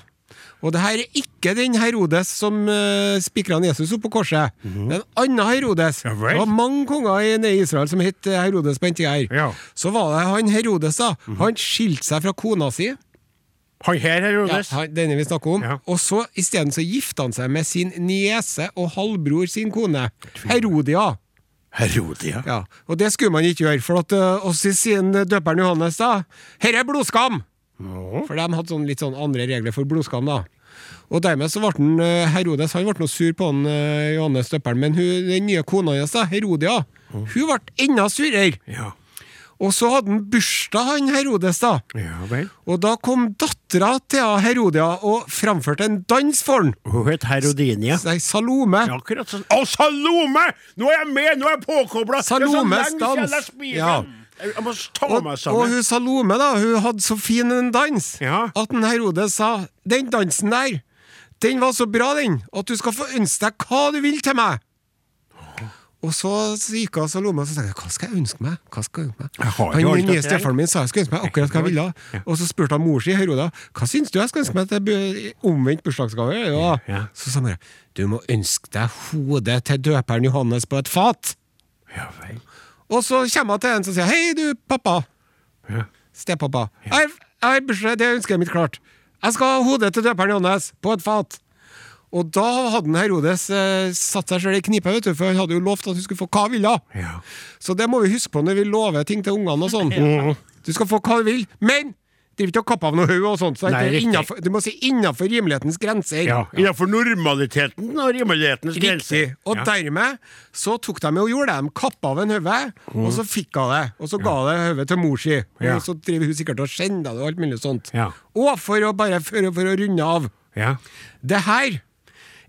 D: Og det her er ikke den Herodes som uh, spikra Jesus opp på korset. Det er en annen Herodes.
B: Mhm. Ja vel.
D: det var mange konger i nede i Israel som het eh, Herodes på denne tida. her.
B: Ja. Mhm.
D: Så var det han Herodes, da. Han skilte seg fra kona si.
B: Han her,
D: Ja,
B: Herodes.
D: han- denne vi snakker om.
B: Ja.
D: Og så isteden så gifta han seg med sin niese og halvbror sin kone. Herodia.
B: Herodia.
D: Ja, Og det skulle man ikke gjøre, for at eh, oss i sin døperen Johannes, da Herre er blodskam! For de hadde sånn, litt sånn andre regler for blodskam, da. Og dermed så ble han, eh, Herodes han ble noe sur på han, eh, Johannes døperen, men hun, den nye kona hans, da, Herodia, hun ble enda surere!
B: Ja.
D: Og så hadde han bursdag, han Herodes, da.
B: Ja vel.
D: Og da kom dattera til han Herodia og framførte en dans for han.
B: Hun het Herodinia.
D: Nei, Salome.
B: Ja, Akkurat sånn. Å, Salome! Nå er jeg med! Nå er jeg påkobla! Det
D: Salomes
B: er så lenge siden jeg
D: dans.
B: har lest Bibelen.
D: Ja.
B: Jeg jeg må ta
D: Og,
B: meg
D: og
B: sammen.
D: hun Salome da, hun hadde så fin en dans
B: Ja.
D: at en Herodes sa Den dansen der, den var så bra, den, at du skal få ønske deg hva du vil til meg. Og så gikk hun Salome og så tenkte jeg, hva skal jeg ønske meg? Hva skal jeg ønske meg?
B: Jeg har jo
D: Han
B: alt
D: nye
B: dette her.
D: stefaren min sa jeg skulle ønske meg akkurat hva jeg ville. Og så spurte han mor si, Heroda, hva syns du jeg skal ønske meg til bu- omvendt bursdagsgave? Ja.
B: Ja.
D: Så sa mora, du må ønske deg hodet til døperen Johannes på et fat.
B: Ja vel.
D: Og så kommer hun til en som sier Hei, du, pappa.
B: Ja.
D: Stepappa. Jeg jeg har bursdag, det ønsker jeg mitt klart. Jeg skal ha hodet til døperen Johannes på et fat. Og da hadde han Herodes eh, satt seg sjøl i knipe, vet du, for han hadde jo lovt at hun skulle få hva hun ville.
B: Ja.
D: Så det må vi huske på når vi lover ting til ungene og sånn. Du skal få hva du vil, men driv ikke og kapp av noe hode og sånt. Så
B: Nei,
D: det er
B: riktig.
D: innenfor- du må si innafor rimelighetens grenser.
B: ja. Innenfor normaliteten og rimelighetens grenser.
D: Riktig. Og
B: Ja.
D: dermed så tok de og gjorde det. De kappa av en høve, og så fikk hun det. Og så ga det høvet til mor si. Og
B: Mm. Ja.
D: så driver hun sikkert og skjenner det og alt mulig sånt.
B: Ja.
D: Og for å bare for, å- for å runde av.
B: Ja.
D: Det her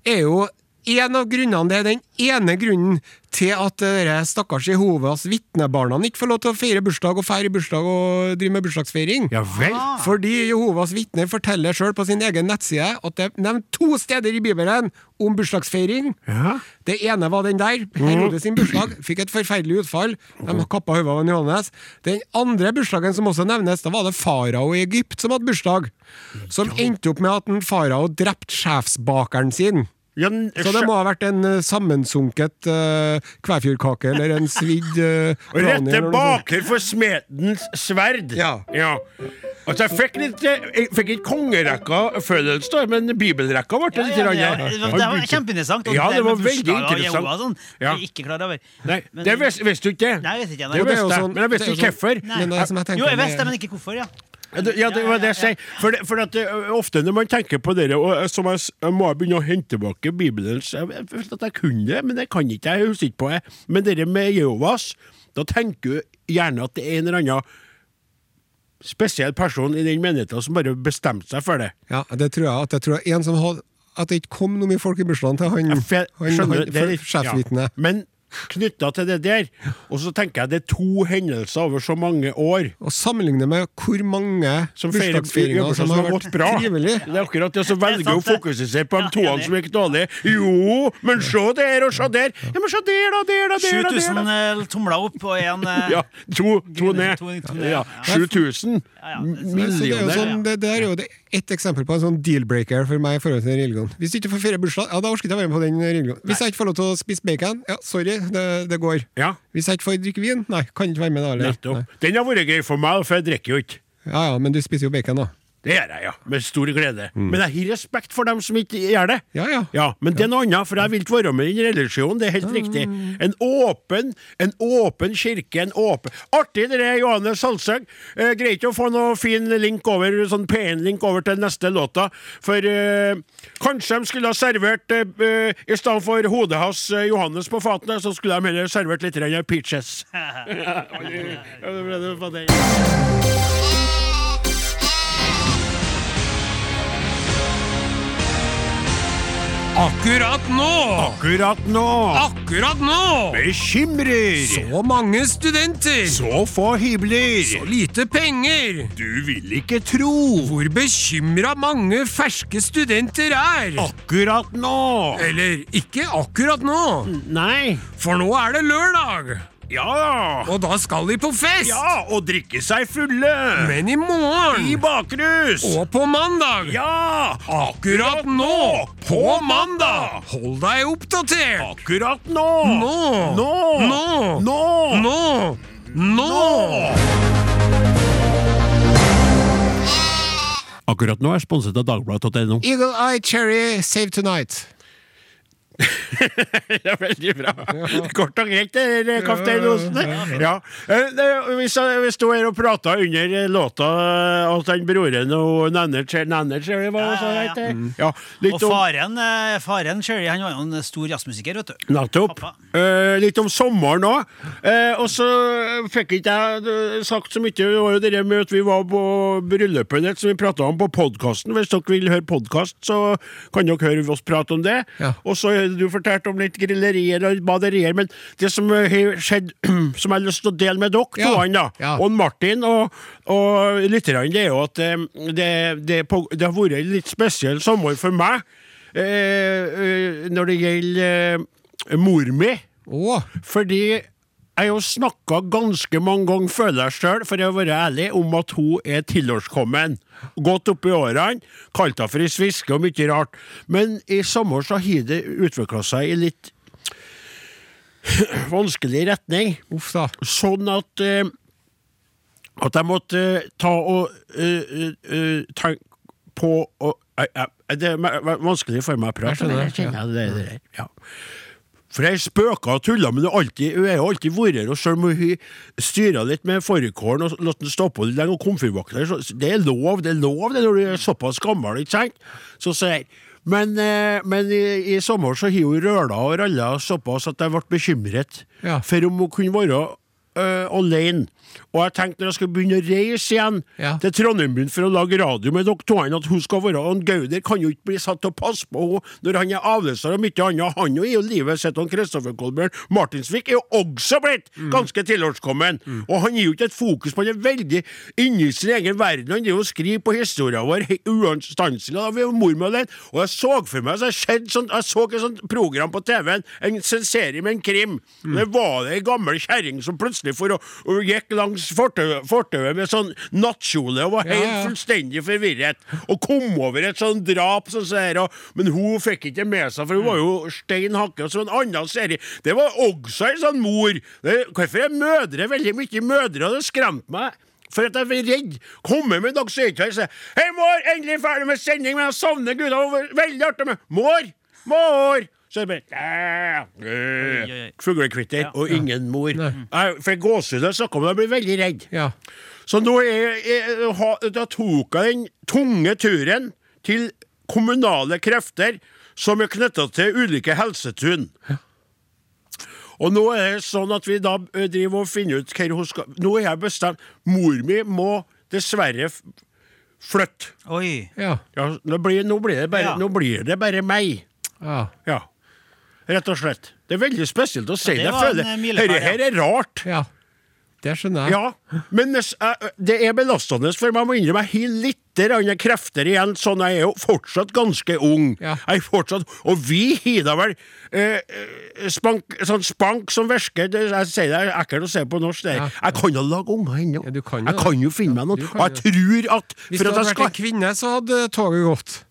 D: er jo en av grunnene, det er den ene grunnen til at dere stakkars Jehovas vitnebarna ikke får lov til å feire bursdag og feire bursdag og drive med bursdagsfeiring.
B: ja vel.
D: Fordi Jehovas vitner forteller sjøl på sin egen nettside at det er nevnt to steder i Bibelen om bursdagsfeiring.
B: Ja. Mm.
D: Det ene var den der. Herodes sin bursdag fikk et forferdelig utfall. De kappa hodet av en Johannes. Den andre bursdagen som også nevnes, da var det farao i Egypt som hadde bursdag. Som endte opp med at en farao drepte sjefsbakeren sin.
B: Ja, n-
D: Så det må ha vært en eh, sammensunket uh, kvæfjordkake eller en svidd uh,
B: Og Rette baker for smedens sverd.
D: Ja.
B: Altså, jeg fikk litt eh, Jeg fikk ikke kongerekka-følelse, da, men bibelrekka ble det litt.
C: Ja,
B: grann, ja.
C: ja, det, var- det var kjempeinteressant. og
B: Ja, det
C: der med
B: var veldig
C: bursdager og
B: interessant.
C: Jehova og sånn,
B: Ja.
C: jeg er ikke klar over.
B: Nei,
C: Men-
B: det visste visste du ikke.
C: Nei, jeg visste ikke, nei.
B: Det
C: Og
D: det er jo
B: visste jeg,
D: sånn-
B: men jeg visste
D: det er jo
B: ikke
D: sånn-
B: hvorfor.
C: Nei.
D: Men det er som jeg tenker,
C: jo, jeg
D: det-
C: visste det, men ikke hvorfor, ja.
B: Ja, det- Ja, det var det jeg sier. For, det, for at det, ø, ofte når man tenker på det, og ø, som jeg, s- jeg må jeg begynne å hente tilbake Bibelen så Jeg jeg følte at jeg kunne det, men jeg kan ikke. Jeg husker ikke på det. Men det med Jehovas, da tenker du gjerne at det er en eller annen spesiell person i den menigheten som bare bestemte seg for det.
D: Ja, det tror jeg. At, jeg tror en som hadde, at det ikke kom noe mye folk i bursdagen til han,
B: Ja, for jeg
D: Mm. han,
B: skjønner,
D: han
B: det er
D: for-
B: litt- Ja.
D: sjefsvitnet.
B: Men knytta til det der, og så tenker jeg det er to hendelser over så mange år.
D: Og sammenligne med hvor mange
B: som feirer
D: bursdagsfeiringer
B: bursdager
D: som sånn, har vært
B: gått bra.
D: trivelige.
B: Det er akkurat det, så velger hun å
C: sant, det.
B: fokusere seg på
C: Ja,
B: de toene
C: enig.
B: som gikk dårlig. Jo, men se der, og se der! Ja, men se der, da, der, da, der, da, der,
C: 7000
B: da.
C: eh, tomler opp og en
B: [laughs]
C: eh,
B: Ja, to, to ned.
C: To- to ned,
B: Ja,
C: ja.
B: 7000
C: Ja, ja, det-
D: Så det er jo
B: millioner.
D: sånn, det, det er jo det- ett eksempel på en sånn deal-breaker for meg i forhold til religion. Hvis du ikke får feire bursdag, ja, da orker jeg ikke å være med på den religionen. Hvis jeg ikke får lov til å spise bacon, ja, sorry, det, det går.
B: Ja,
D: Hvis jeg ikke får drikke vin, nei, kan ikke være med da. eller? Nei.
B: nettopp. Den har vært grei for meg, for jeg drikker jo ikke.
D: Ja, ja, men du spiser jo bacon da.
B: Det gjør jeg, ja. Med stor glede. Men jeg har respekt for dem som ikke gjør det.
D: Mm. Ja, ja.
B: Ja, Men det er noe annet, for jeg vil ikke være med i den religionen. Det er helt riktig. En åpen en åpen kirke. en åpen... Artig det er, Johannes Salsøg. Eh, Greit å få noe fin link over, sånn P1-link over til neste låta. For eh, kanskje de skulle ha servert eh, eh, I stedet for hodet hans eh, Johannes på fatene, så skulle de heller servert litt grann peaches. Ja, det ble det for det.
D: Akkurat nå!
B: Akkurat nå
D: Akkurat nå!
B: bekymrer
D: Så mange studenter!
B: Så få hybler!
D: lite penger!
B: Du vil ikke tro
D: Hvor bekymra mange ferske studenter er!
B: akkurat nå!
D: Eller ikke akkurat nå,
B: Eh, Nei.
D: for nå er det lørdag!
B: Ja da!
D: Og da skal de på fest!
B: Ja, og drikke seg fulle!
D: Men i morgen!
B: I bakrus!
D: Og på mandag!
B: Ja!
D: Akkurat nå! På mandag!
B: mandag!
D: Hold deg oppdatert!
B: Akkurat nå!
D: Nå!
B: Nå!
D: Nå!
B: Nå!
D: Nå! Nå!
B: Akkurat nå er sponset av [laughs] Dagbladet.no.
D: Eagle Eye Cherry Save Tonight.
B: Det er veldig bra. Kort og greit, eh, det der, kaptein Osen. Ja. Eh, det- Vi sa- vi sto her og prata under eh, låta eh, at den broren og Nannert Nannert, eller hva det
C: Ja, ja, ja.
B: heter? Ja,
C: Og
B: litt om
C: faren, eh, faren Sherry, han var jo en stor jazzmusiker, vet du.
B: Nettopp.
C: Pappa.
B: Eh, litt om sommeren òg. og så fikk ikke jeg eh, sagt så mye. Det var jo det der med at vi var på bryllupet ditt, som vi prata om på podkasten. Hvis dere vil høre podkast, så kan dere høre oss prate om det.
D: Ja.
B: Og så har du fortalte om litt grillerier og baderier, men det som eh, har skjedd, [clears throat] som jeg har lyst til å dele med dere,
D: Ja.
B: to da,
D: Ja.
B: og Martin og, og lytterne, det er jo at eh, det, det, er på, det har vært en litt spesiell sommer for meg eh, eh, når det gjelder eh, mor mi.
D: Å,
B: Fordi jeg har snakka ganske mange ganger, føler jeg sjøl, for jeg har vært ærlig, om at hun er tilårskommen. Godt oppi årene, kalt henne for ei sviske og mye rart. Men i sommer så har det utvikla seg i litt [clears throat] vanskelig retning
D: uff da.
B: sånn at eh, At jeg måtte eh, ta og eh, eh, tenke på å- jeg- jeg- Det er me- me- vanskelig for meg å prate,
D: Jeg skjønner,
B: men jeg kjenner det, det, det. Ja. For jeg spøker og tuller, men det er alltid, hun er jo alltid vært her, og selv om hun styrer litt med fårikålen og latt den stå på litt lenge, og komfyrvakter, så det er lov, det er lov det når du er såpass gammel, ikke sant? Så sier jeg, men, eh, men i, i sommer så har hun røla og ralla såpass at jeg ble bekymret
D: Ja.
B: for om hun kunne være øh, alene. Og jeg tenkte når jeg skulle begynne å reise igjen
D: Ja.
B: til Trondheim byen for å lage radio med dere to, at hun skal være han Gauder kan jo ikke bli satt til å passe på henne når han er avløser og mye annet. Han jo er jo livet sitt, han Kristoffer Kolbjørn Martinsvik er jo også blitt ganske tilårskommen. Og han gir jo ikke et fokus på han er veldig inni sin egen verden. Han driver og skriver på historien vår he- uanstanselig. Da var jo mor mi alene. Og jeg så for meg så jeg, skjedde sånt, jeg så et sånt program på TV-en, en s- serie med en krim. Og
D: Mm.
B: Det var det ei gammel kjerring som plutselig for å, og gikk langs fortau- fortauet med sånn nattkjole og var
D: Ja,
B: helt
D: ja.
B: fullstendig forvirret. Og kom over et sånn drap, sånn så her, og, men hun fikk ikke det med seg, for hun var jo stein hakke. Og så en annen serie. Det var også en sånn mor. Det, hvorfor er mødre veldig mye mødre? og Det skremte meg. For at jeg var redd. Kommer med dags øyekveld og sier 'Hei, mor! Endelig ferdig med sending, men jeg savner gutta. Det var Veldig artig med Mor! Mor!' Så er det bare «Æ,
C: oi,
B: øh,
C: oi.
B: Fuglekvitter og ingen mor. Jeg fikk gåsehud da jeg snakka om det. Jeg blir veldig redd.
D: Ja.
B: Så nå er, er, ha- da tok jeg den tunge turen til kommunale krefter som er knytta til ulike helsetun. Og nå er det sånn at vi da ø, driver og finner ut hvor hun skal Nå er jeg bestemt. Mor mi må dessverre f- flytte.
C: Oi.
D: Ja.
B: Ja, nå, blir, nå, blir det bare,
C: Ja.
B: nå blir det bare meg.
D: ja.
B: Ja. Rett og slett. Det er veldig spesielt å si
C: det
B: det. Jeg
C: var en,
B: føler
C: eh, milepæl,
B: Dette her er rart.
D: Ja. Det skjønner jeg.
B: Ja, men nes- jeg- det er belastende, for man må innrømme jeg har litt grann krefter igjen. Sånn, jeg er jo fortsatt ganske ung.
D: Ja.
B: Jeg er fortsatt, og vi har da vel eh, eh, spank, sånn spank som virker det, Jeg sier det jeg er ekkelt å si på norsk. Det.
D: Ja.
B: Jeg kan jo lage unger ennå.
D: Ja, du kan jo
B: jeg
D: det.
B: kan jo finne meg
D: du
B: noen.
D: kan
B: Og jeg tror at
D: Hvis
B: for
D: det
B: at
D: hadde
B: jeg
D: vært en
B: skal
D: kvinne, så hadde toget gått.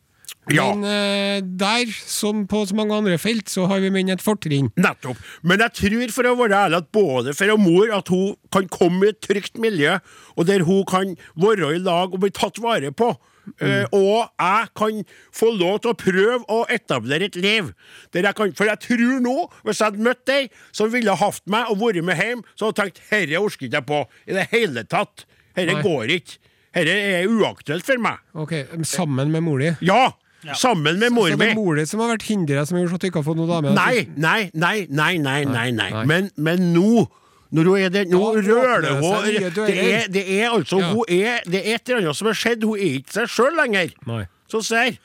B: Ja.
D: Men eh, der, som på så mange andre felt, så har vi menn et fortrinn.
B: Nettopp. Men jeg tror, for å være ærlig, at både for og mor at hun kan komme i et trygt miljø, og der hun kan være i lag og bli tatt vare på. Eh,
D: Mm.
B: og jeg kan få lov til å prøve å etablere et liv. Der jeg kan, for jeg tror nå, hvis jeg hadde møtt ei som ville hatt meg og vært med hjem, så hadde jeg tenkt herre orker ikke jeg på i det hele tatt. Herre
D: Nei.
B: går ikke. Herre er uaktuelt for meg.
D: Ok, Sammen med mor di.
B: Ja! Sammen med mor
D: Så det
B: mi.
D: er mor di som har vært hinderet som har gjort at du ikke har fått noen dame?
B: Nei, nei, nei, nei, nei, nei, nei.
D: nei.
B: Men, men nå når hun er det, nå
D: Da åpner
B: røler
D: det
B: hun
D: seg nye
B: det er,
D: dører.
B: det er altså
D: Ja.
B: hun er, Det er et eller annet som har skjedd. Hun er ikke seg sjøl lenger.
D: Nei.
B: Så ser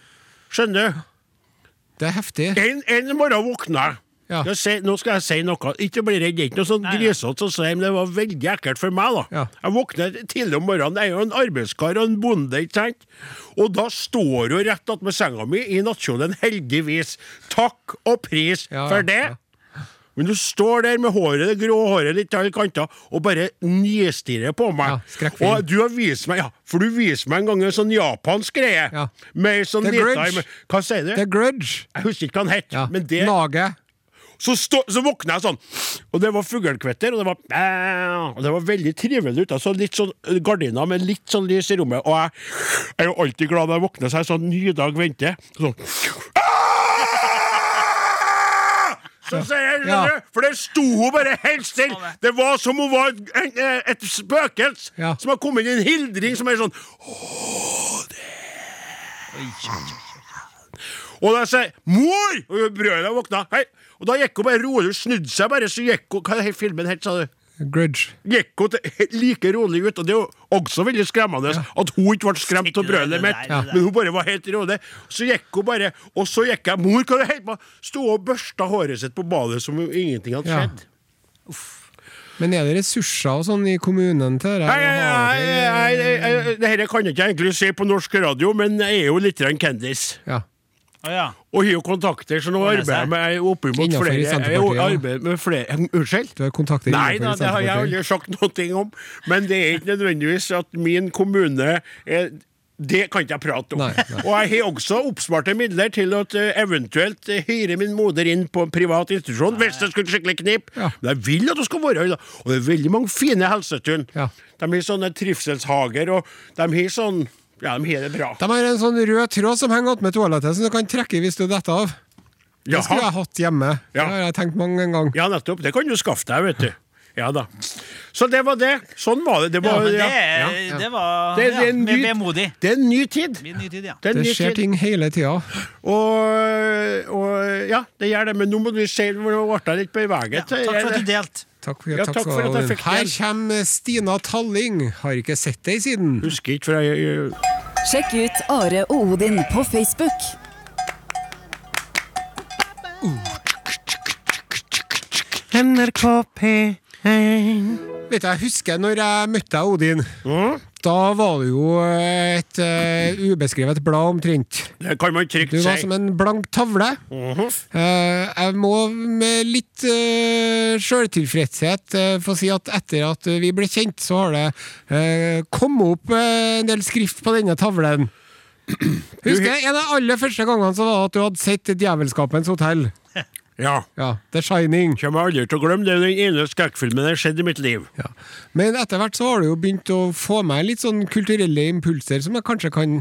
B: Skjønner du?
D: Det er heftig.
B: En, en morgen våkna jeg.
D: Ja.
B: Jeg sier- nå skal jeg si noe. Ikke bli redd, det er ikke noe sånn
C: Nei, nei.
B: grisete, å si, men det var veldig ekkelt for meg. da.
D: Ja.
B: Jeg våkner tidlig om morgenen. Jeg er jo en arbeidskar og en bonde, ikke sant? Og da står hun rett attmed senga mi i nattkjolen, heldigvis. Takk og pris
D: Ja, ja,
B: for det.
D: ja.
B: Men du står der med håret, det grå håret litt til alle kanter og bare nistirrer på
D: Ja,
B: meg.
D: skrekkfilm.
B: og du har vist meg, ja, for du viste meg en gang en sånn japansk greie.
D: Ja.
B: Med sånn
D: The
B: lita
D: Grudge.
B: arm- Hva sier du?
D: The Grudge.
B: Jeg husker ikke hva han het.
D: Ja.
B: Men det,
D: Laget.
B: så, stå, så våkna jeg sånn, og det var fuglekvetter, og det var «Bæ», og det var veldig trivelig ute. Så litt sånn eh, gardiner med litt sånn lys i rommet, og jeg, jeg er jo alltid glad når jeg våkner, så jeg er sånn ny dag venter. Sånn «Ah!» Så sier jeg,
D: Ja.
B: skjønner du, for det sto hun bare helt stille. Det var som hun var en, eh, et spøkelse
D: Ja.
B: som har kommet inn i en hildring som er sånn Og da sier jeg 'mor!' Og brødrene våkna. Hei. Og da gikk hun bare rolig, snudde seg bare, så gikk hun Hva er filmen helt, sa du?
D: Grudge.
B: Gikk hun til- like rolig ut, og det er jo også veldig skremmende at hun ikke ble skremt av brølet mitt,
C: Det der, det der.
B: men hun bare var helt rolig. Så gikk hun bare, og så gikk jeg 'mor, hva er det helt på?' Sto og børsta håret sitt på badet som om ingenting hadde
D: Ja.
B: skjedd.
D: Men er det ressurser og sånn i kommunen til det?
B: Nei, nei, nei, nei, nei, nei, det her kan jeg ikke egentlig si på norsk radio, men jeg er jo litt grann kendis.
D: Ja.
C: Å ja.
B: Og har jo kontakter, så nå
C: Ordner
B: arbeider
C: seg.
B: jeg meg oppimot
D: Innenfor i
B: flere Jeg
D: Senterpartiet, ja.
B: arbeider med flere Unnskyld?
D: Du har kontakter
B: Nei da,
D: innenfor i
B: det har jeg
D: Senterpartiet.
B: aldri sagt noe om. Men det er ikke nødvendigvis at min kommune er det kan ikke jeg prate om.
D: Nei, nei.
B: Og jeg har også oppsparte midler til å eh, eventuelt eh, hyre min moder inn på en privat institusjon hvis det skulle skikkelig knip.
D: Ja.
B: Men jeg vil at hun skal være i det. Og det er veldig mange fine helsetun.
D: Ja.
B: De har sånne trivselshager, og de har sånn Ja, de har det bra.
D: De har en sånn rød tråd som henger attmed toalettet, som du kan trekke hvis du detter av. Det skulle
B: Jaha.
D: jeg hatt hjemme.
B: Ja.
D: Det har jeg tenkt mange en gang.
B: Ja, nettopp. Det kan du skaffe deg, vet du. Ja da. Så det var det. Sånn var det. Det,
C: ja
B: var,
C: men det,
B: ja.
C: er- det var
B: Det- det er
C: Ah, ja,
B: en
C: med-
B: ny-
C: vemodig.
B: det er en ny tid.
C: Min nye tid, ja.
B: Det er en ny
D: Det skjer
B: tid.
D: ting hele tida.
B: Og, og ja, det gjør det. Men nå må du se hvor du ble litt
C: ja.
B: beveget.
C: Takk for at du delte.
D: Takk for,
B: Ja, takk for at jeg fikk
D: Her
B: det.
D: kommer Stina Talling. Har ikke sett deg siden.
B: Husker ikke, for jeg
A: Sjekk ut Are og Odin på Facebook.
C: NRK P1
D: Vet du, Jeg husker når jeg møtte deg, Odin.
B: Mm.
D: Da var det jo et eh, ubeskrevet blad omtrent.
B: Det kan man trygt
D: Du var som
B: si.
D: en blank tavle.
B: Mhm.
D: Eh, jeg må med litt uh, sjøltilfredshet eh, få si at etter at vi ble kjent, så har det eh, kommet opp eh, en del skrift på denne
B: [clears throat]
D: tavlen. Husker jeg, En av de aller første gangene så var det at du hadde sett Djevelskapens hotell.
B: Ja.
D: Ja, The Shining.
B: Kommer aldri til å glemme det. er Den ene skrekkfilmen jeg har sett i mitt liv.
D: Ja. Men etter hvert så har du jo begynt å få meg litt sånn kulturelle impulser som jeg kanskje kan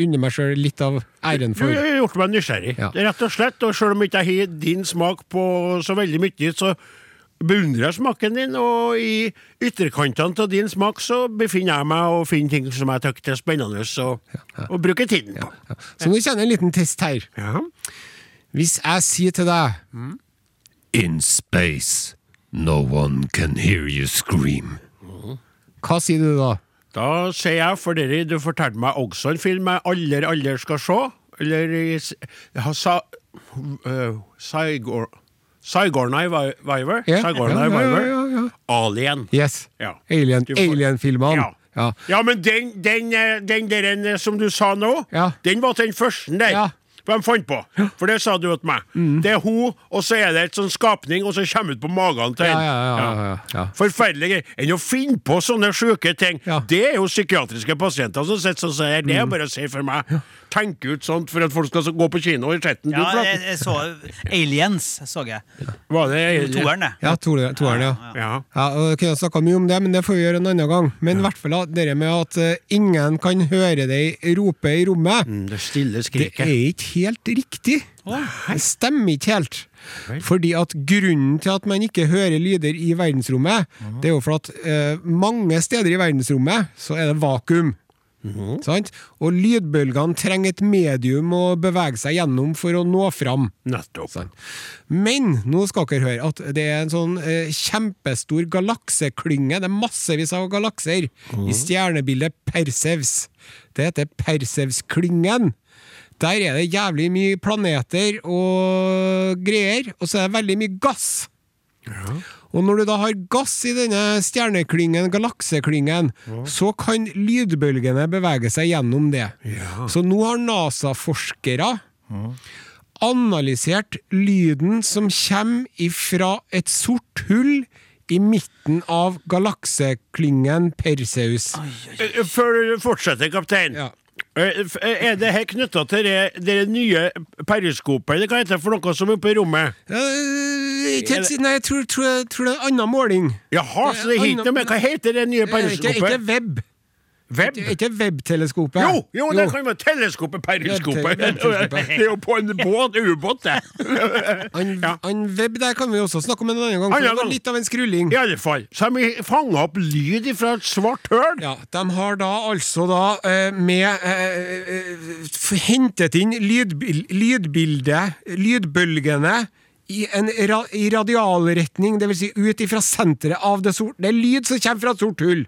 D: unne meg sjøl litt av æren
B: Du
D: for.
B: har gjort meg nysgjerrig,
D: Ja.
B: Det er rett og slett. Og selv om ikke jeg har din smak på så veldig mye, så beundrer jeg smaken din. Og i ytterkantene av din smak så befinner jeg meg og finner ting som jeg tykker er spennende, og, og bruker tiden på.
D: Ja. Så nå kjenner jeg en liten test her.
B: Ja.
D: Hvis jeg sier til deg In space, no one can hear you scream. Hva sier du da?
B: Da sier jeg for dere, du fortalte meg også en film jeg aldri, aldri skal se. Eller i s- ja, sa, øh, Saigor... Saigornai Viver?
D: Ja,
B: Saigornai
D: ja, ja,
B: Viver?
D: ja, ja.
B: Alien.
D: Yes.
B: Ja.
D: Alien-
B: Du får-
D: Alien-filmene.
B: Ja.
D: ja.
B: Ja, men den, den, eh, den der en, eh, som du sa nå,
D: Ja.
B: den var den første der.
D: Ja. Mm.
B: Hvem fant på? For det sa du til meg. Det er hun, og så er det et sånn skapning, og så kommer hun på magen til
D: Ja,
B: en.
D: ja, ja, ja, ja, ja.
B: Forferdelig greier. Enn å finne på sånne sjuke ting.
D: Ja.
B: Det er jo psykiatriske pasienter som sitter og sier det er bare å si for meg. Tenke ut sånt for at folk skal gå på kino i skjetten.
C: Ja,
B: du,
C: jeg,
B: Flaten.
C: jeg så Aliens, så jeg.
B: Var det
C: Toeren, det.
D: Ja, toeren, toeren, ja.
B: Ja.
D: Ja, og jeg kunne snakka mye om det, men det får vi gjøre en annen gang. Men i hvert fall at det med at eh, ingen kan høre deg rope i rommet,
B: Mm, Det stille
D: det er
B: skriket.
D: ikke helt riktig. Det stemmer ikke helt. Fordi at grunnen til at man ikke hører lyder i verdensrommet, det er jo for at eh, mange steder i verdensrommet så er det vakuum. Sant? Og lydbølgene trenger et medium å bevege seg gjennom for å nå fram.
B: Nettopp.
D: Men nå skal dere høre at det er en sånn eh, kjempestor galakseklynge. Det er massevis av galakser i stjernebildet Persevs. Det heter Persevsklyngen. Der er det jævlig mye planeter og greier, og så er det veldig mye gass. Og når du da har gass i denne stjerneklyngen, galakseklyngen, så kan lydbølgene bevege seg gjennom det. Så nå har NASA-forskere analysert lyden som kommer ifra et sort hull i midten av galakseklyngen Perseus.
B: Eh, Før du fortsetter, kaptein.
D: Ja.
B: Eh, f- eh, Er det her knytta til det, det nye periskopet, eller hva heter det for noe som er oppe i rommet?
D: Eh, ikke helt si- Nei, jeg tror, tror, jeg, tror det er en annen måling.
B: Jaha, så det er hit noe med Hva heter det nye
D: Eh, Ikke, ikke
B: periskopet?
D: web.
B: Web?
D: Ikke- Ikke webteleskopet.
B: Jo, jo, det kan jo være teleskopet, periskopet.
D: Web-
B: [laughs]
D: teleskopet.
B: Det er jo på en båt, ubåt, det.
D: Han,
B: Ja.
D: han web der kan vi også snakke om en annen gang, for
B: Annen
D: det var
B: gang.
D: litt av en skrulling.
B: I alle fall. Så har vi fanga opp lyd fra et svart høl.
D: Ja, De har da altså da eh, med eh, eh, f- hentet inn lydbil, lydbildet, lydbølgene, i en ra i radialretning, dvs. Si ut ifra senteret av det sorte Det er lyd som kommer fra et sort hull.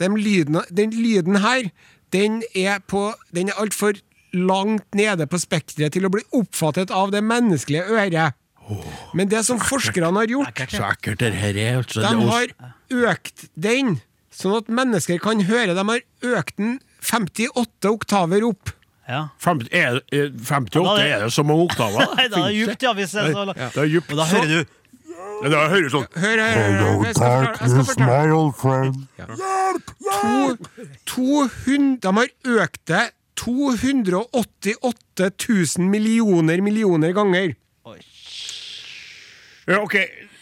D: Den lyden, den lyden her, den er, på- den er altfor langt nede på spekteret til å bli oppfattet av det menneskelige øret. Men det som forskerne har gjort
B: Så ekkelt det her er. Altså, Det er
D: de
B: oss-
D: har økt den, sånn at mennesker kan høre. De har økt den 58 oktaver opp.
C: Ja.
B: Fem- er- er- 58 er det så mange oktaver?
C: Nei, da er det djupt, ja. Hvis det er så
B: Ja.
C: langt.
B: Det er djupt.
C: Og da hører du
B: Det høres sånn
D: Hør, hør, hør, hør.
E: Hello,
D: Jeg skal forklare- jeg skal
E: darkness,
D: forklare.
E: my old friend.
D: To, 200, de har økt det 288 000 millioner millioner ganger.
B: ja, OK.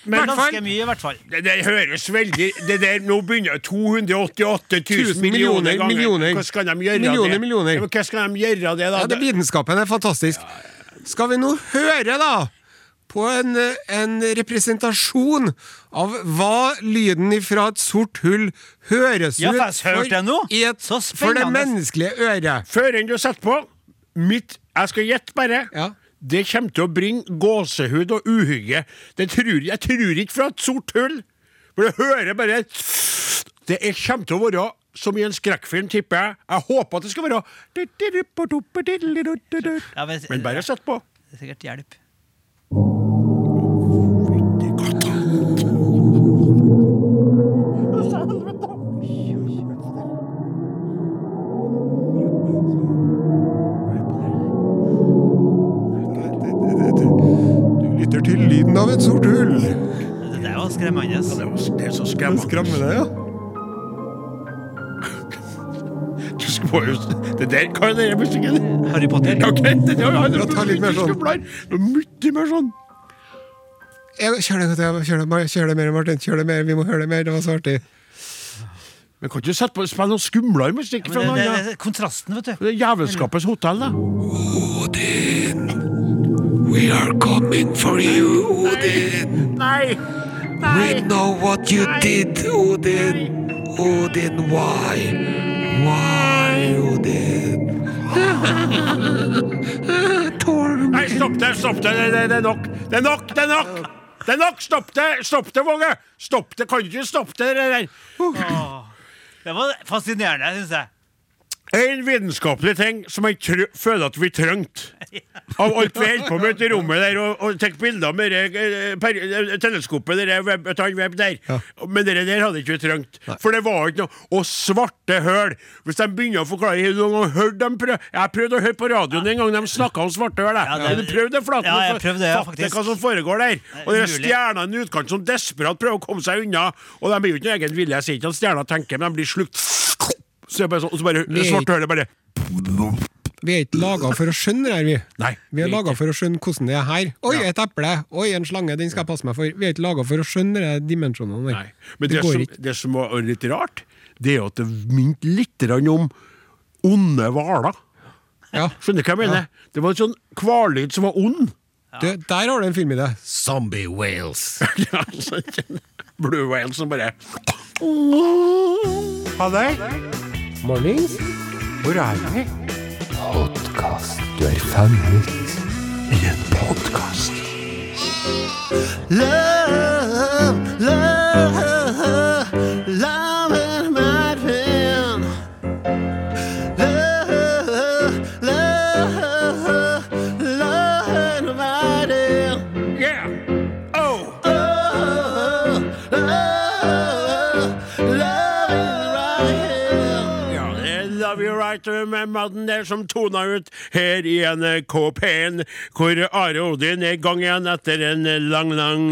B: Men
D: hvert fall-
C: ganske mye, i hvert fall.
B: det der høres veldig Det der nå begynner 288 000
D: Tusen millioner,
B: millioner ganger.
D: millioner.
B: Hva skal de gjøre
D: Millioner,
B: det?
D: millioner.
B: Ja, men Hva skal de gjøre det, da?
D: Ja, det, Vitenskapen er fantastisk. Skal vi nå høre, da, på en, eh, en representasjon av hva lyden fra et sort hull høres
C: Ja,
D: ut
C: for jeg hørte det nå.
D: i et,
C: Så
D: for det
C: spennende.
D: menneskelige øret?
B: Før enn du setter på mitt Jeg skal gjette, bare.
D: Ja.
B: Det kommer til å bringe gåsehud og uhygge. Det tror, jeg- jeg tror ikke fra et sort hull. For du hører bare Det er, kommer til å være som i en skrekkfilm, tipper jeg. Jeg håper at det skal være
C: Ja, men,
B: Men bare sett på.
C: Det er sikkert hjelp.
D: Du lytter til lyden av et sort hull.
C: Det der var skremmende. altså.
B: Det er- det er så skremmende.
D: Skremmer det, ja?
B: Du skal jo- Det der kan den musikken.
C: Harry Potter.
B: Ok, det der har
D: Ja, ta litt mer sånn.
B: Mye mer sånn.
D: Jeg- Kjør det, Katia, kjør det, Mar- kjør det mer, Martin. Kjør det mer, Vi må høre det mer. Det var så artig.
B: Men kan ikke du sette på spille noe skumlere musikk?
C: Men
B: fra noen
C: det,
B: andre?
C: det, det, kontrasten, vet du.
B: Det er Jævelskapets hotell, da.
D: We are coming for you, Odin.
B: Nei!
D: We know what you did, Odin. Odin, why? Why, Odin? [laughs] Torm.
B: Nei, stopp det! Stopp det! Det, det, det er nok! Det er nok! Det er nok! Det er nok! Stopp det! Stopp det, Våge! Stopp det! Kan du ikke stoppe det det der?
C: Det var fascinerende, syns jeg.
B: En vitenskapelig ting som jeg trø føler at vi trengte. Av alt vi holder på med ute i rommet der, og, og tar bilder med det eh, per, eh, teleskopet det der, web, et annet web der. Men det der hadde ikke vi trengt. For det var ikke noe Og svarte høl! Hvis de begynner å forklare Har du noen gang hørt dem prøve Jeg prøvde å høre på radioen en gang de snakka om svarte høl. jeg.
C: Ja, det-
B: Har du prøvd det, Flaten?
C: Ja, jeg
B: og
C: prøvde det, ja,
B: fatte
C: faktisk.
B: Hva som foregår der. Og det er
C: umulig.
B: stjernene i utkanten som desperat prøver å komme seg unna. Og de blir jo ikke noe egen vilje. Jeg sier ikke at stjerna tenker, men de blir slukt. Så jeg bare sånn, og så bare det svarte hølet bare
D: Vi er ikke laga for å skjønne det her, vi.
B: Nei.
D: Vi er laga for å skjønne hvordan det er her. Oi, et eple! Oi, en slange! Den skal jeg passe meg for. Vi er ikke laga for å skjønne de dimensjonene der.
B: Nei. Men det,
D: går
B: som,
D: ikke.
B: det som var litt rart, det er jo at det minte litt grann om onde hvaler.
D: Ja.
B: Skjønner du hva jeg mener? Det var en sånn hvallyd som var ond.
D: Du, der har du en film i det.
F: Zombie whales.
B: Ja, altså, Blue whale som bare Ha det.
D: Mornings.
B: Hvor er vi?
F: Podkast. Du er fanget i en podkast. Love, love, love is my friend. Love, love, love is my friend.
B: Yeah! Oh!
F: Love, love is right here.
B: Ja, det er Love you right Night med mannen der som tona ut her i NRK P1, hvor Are Odin er i gang igjen etter en lang, lang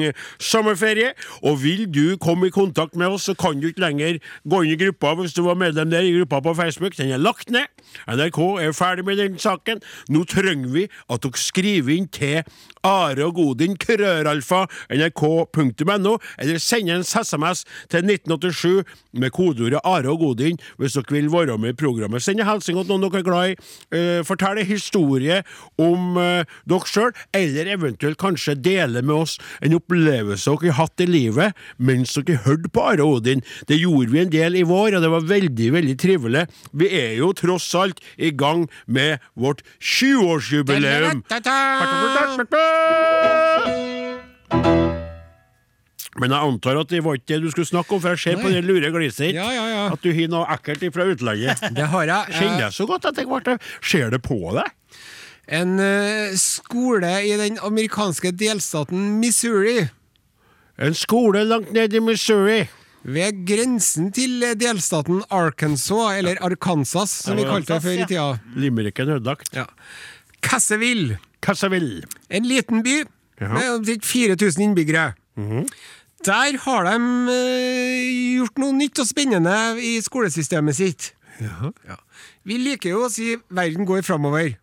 B: sommerferie. Og vil du komme i kontakt med oss, så kan du ikke lenger gå inn i gruppa hvis du var medlem der i gruppa på Facebook. Den er lagt ned. NRK er ferdig med den saken. Nå trenger vi at dere skriver inn til Are og Godin, krøralfa, nrk.no, eller sender en SMS til 1987 med kodeordet Are og Godin hvis dere vil være med i programmet. Send en hilsen til noen dere er glad i. eh, Fortell en historie om eh, dere sjøl, eller eventuelt kanskje dele med oss en opplevelse dere har hatt i livet mens dere hørte på Are og Odin. Det gjorde vi en del i vår, og det var veldig, veldig trivelig. Vi er jo tross alt i gang med vårt 20-årsjubileum. Men jeg antar at det var ikke det du skulle snakke om, for jeg ser på
D: Nei.
B: det lure gliset ditt
D: Ja, ja, ja.
B: at du har noe ekkelt fra
D: [laughs]
B: utlandet.
D: Det har jeg.
B: Kjenner jeg så godt at jeg ble Ser det på deg?
D: En eh, skole i den amerikanske delstaten Missouri.
B: En skole langt ned i Missouri.
D: Ved grensen til eh, delstaten Arkansas, eller Arkansas, som vi kalte det før i tida.
B: Limericken ødelagt.
D: Ja. Cassaville.
B: Hva som vil.
D: En liten by
B: Ja.
D: med omtrent 4000 innbyggere. Der har de eh, gjort noe nytt og spennende i skolesystemet sitt. Ja. Vi liker jo å si 'verden går framover'.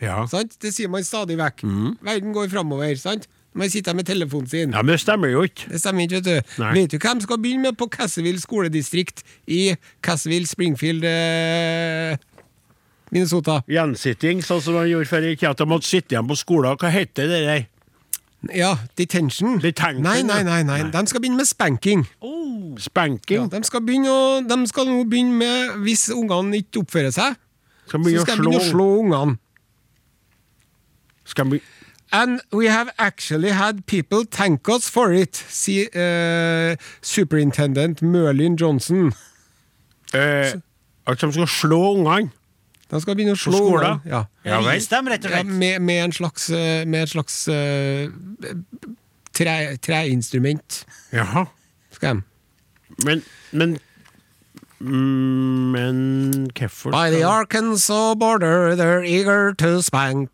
B: Ja.
D: Sant? Det sier man stadig vekk. Verden går framover. Sant? Man sitter her med telefonen sin.
B: Mm. ja, men det stemmer jo ikke.
D: Det stemmer ikke, vet du.
B: Nei.
D: Vet du hvem skal begynne med på Cassville skoledistrikt i Cassville, Springfield, eh, Minnesota?
B: Gjensitting, sånn som man gjorde før i tida. At de måtte sitte igjen på skolen. Hva heter det der?
D: Ja, detention.
B: Detention,
D: nei, nei, nei, nei,
B: ja.
D: De skal begynne med spanking. Oh.
B: Spanking?
D: De, skal begynne å, de skal nå begynne med Hvis ungene ikke oppfører seg,
B: Skal
D: så
B: man begynne
D: skal de begynne å slå ungene.
B: Skal man...
D: And we have actually had people thank us for it, sier eh, superintendent Merlin Johnson.
B: eh, At de skal slå ungene?
D: De skal begynne å slå
B: skolen?
D: ungene. Ja.
B: Ja vel.
C: Vis dem, rett og
D: Ja,
C: slett.
D: med, med en slags, eh, med en slags eh, tre, treinstrument,
B: Jaha.
D: skal de.
B: Men Men mm, Men hvorfor
D: By the Arkansas border, they're eager to spank.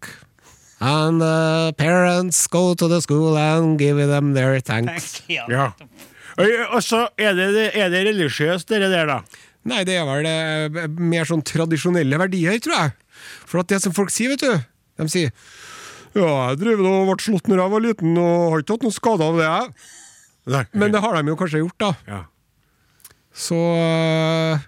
D: And the parents go to the school and give them their thanks.
C: [laughs] Ja.
B: Ja. Øy, Og så er det, er det religiøst, det der, da.
D: Nei, det er vel eh, mer sånn tradisjonelle verdier, tror jeg. For at det som folk sier, vet du De sier Ja, jeg drev og ble slått når jeg var liten, og har ikke hatt noen skade av det, jeg. Men det har de jo kanskje gjort, da.
B: ja.
D: Så eh,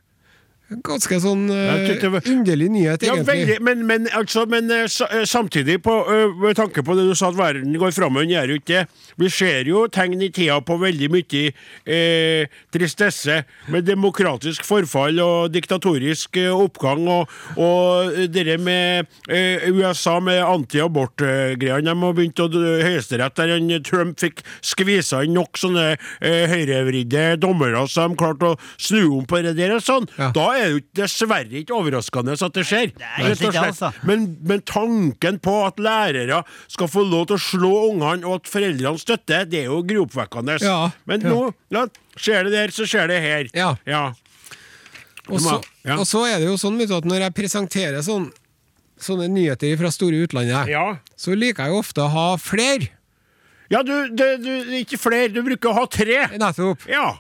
D: Ganske sånn eh,
B: Jeg tykte det var-
D: underlig nyhet,
B: Ja,
D: egentlig.
B: veldig, men, men, altså, men eh, sa- eh, samtidig, på, eh, med tanke på det du sa, at verden går framover, den gjør jo ikke det. Vi ser jo tegn i tida på veldig mye eh, tristesse, med demokratisk forfall og diktatorisk eh, oppgang, og, og det der med eh, USA med anti-abort-greiene. De har begynt å dø- Høyesterett, der en Trump fikk skvisa inn nok sånne eh, høyrevridde dommere, så de klarte å snu om på det der og sånn.
D: Ja.
B: Da er det jo dessverre ikke overraskende at det skjer.
C: det er
B: Rett og
C: egentlig det,
B: slett.
C: altså.
B: men, men tanken på at lærere skal få lov til å slå ungene, og at foreldrene støtter, det er jo gropevekkende.
D: Ja,
B: Men
D: ja.
B: nå ja, skjer det der, så skjer det her.
D: Ja. Og så,
B: Ja.
D: og så er det jo sånn vet du, at når jeg presenterer sånn, sånne nyheter fra store utlandet,
B: Ja.
D: så liker jeg jo ofte å ha flere.
B: Ja, du, du, du Ikke flere, du bruker å ha tre.
D: Nettopp.
B: Ja.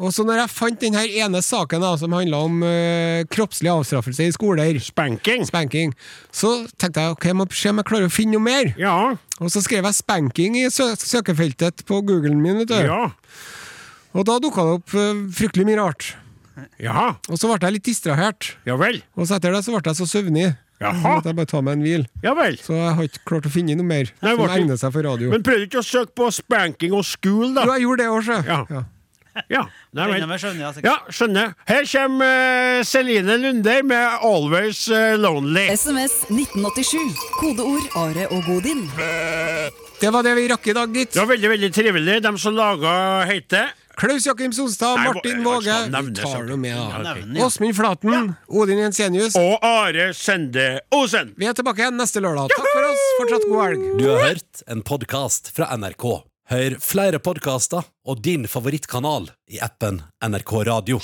D: Og så når jeg fant den her ene saken da, som handla om eh, kroppslig avstraffelse i skoler,
B: Spanking.
D: spanking, så tenkte jeg ok, jeg må se om jeg klarer å finne noe mer.
B: Ja.
D: Og så skrev jeg 'spanking' i sø søkefeltet på Googlen min, vet du.
B: Ja.
D: Og da dukka det opp eh, fryktelig mye rart.
B: Ja.
D: Og så ble jeg litt distrahert.
B: Ja vel.
D: Og så etter det så ble jeg så søvnig.
B: Jaha.
D: Så måtte jeg bare ta meg en hvil.
B: Ja vel.
D: Så jeg har ikke klart å finne noe mer
B: Nei,
D: som
B: var det-
D: egner seg for radio.
B: Men prøvde du ikke å søke på spanking og school, da?
D: jo, jeg gjorde det òg, sjø.
B: Ja. Ja, nei
C: Regner
B: vel.
C: med skjønner, altså.
B: Ja, skjønner. Her kommer eh, Celine Lunder med 'Always eh, Lonely'.
A: SMS 1987. Kodeord Are og Godin.
D: Det var det vi rakk i dag, gitt.
B: Det var veldig veldig trivelig, de som laga heite.
D: Klaus Jakim Sonstad,
B: Nei,
D: Martin
B: hva-
D: Våge
B: altså, nevnes
D: Vi tar
B: jo.
D: noe med, da.
B: Ja,
C: ok.
D: Åsmund Flaten. Odin Jensenius.
B: Og Are Sende Osen.
D: Vi er tilbake igjen neste lørdag. Takk for oss. Fortsatt god helg.
E: Du har hørt en podkast fra NRK. Hør flere podkaster og din favorittkanal i appen NRK Radio.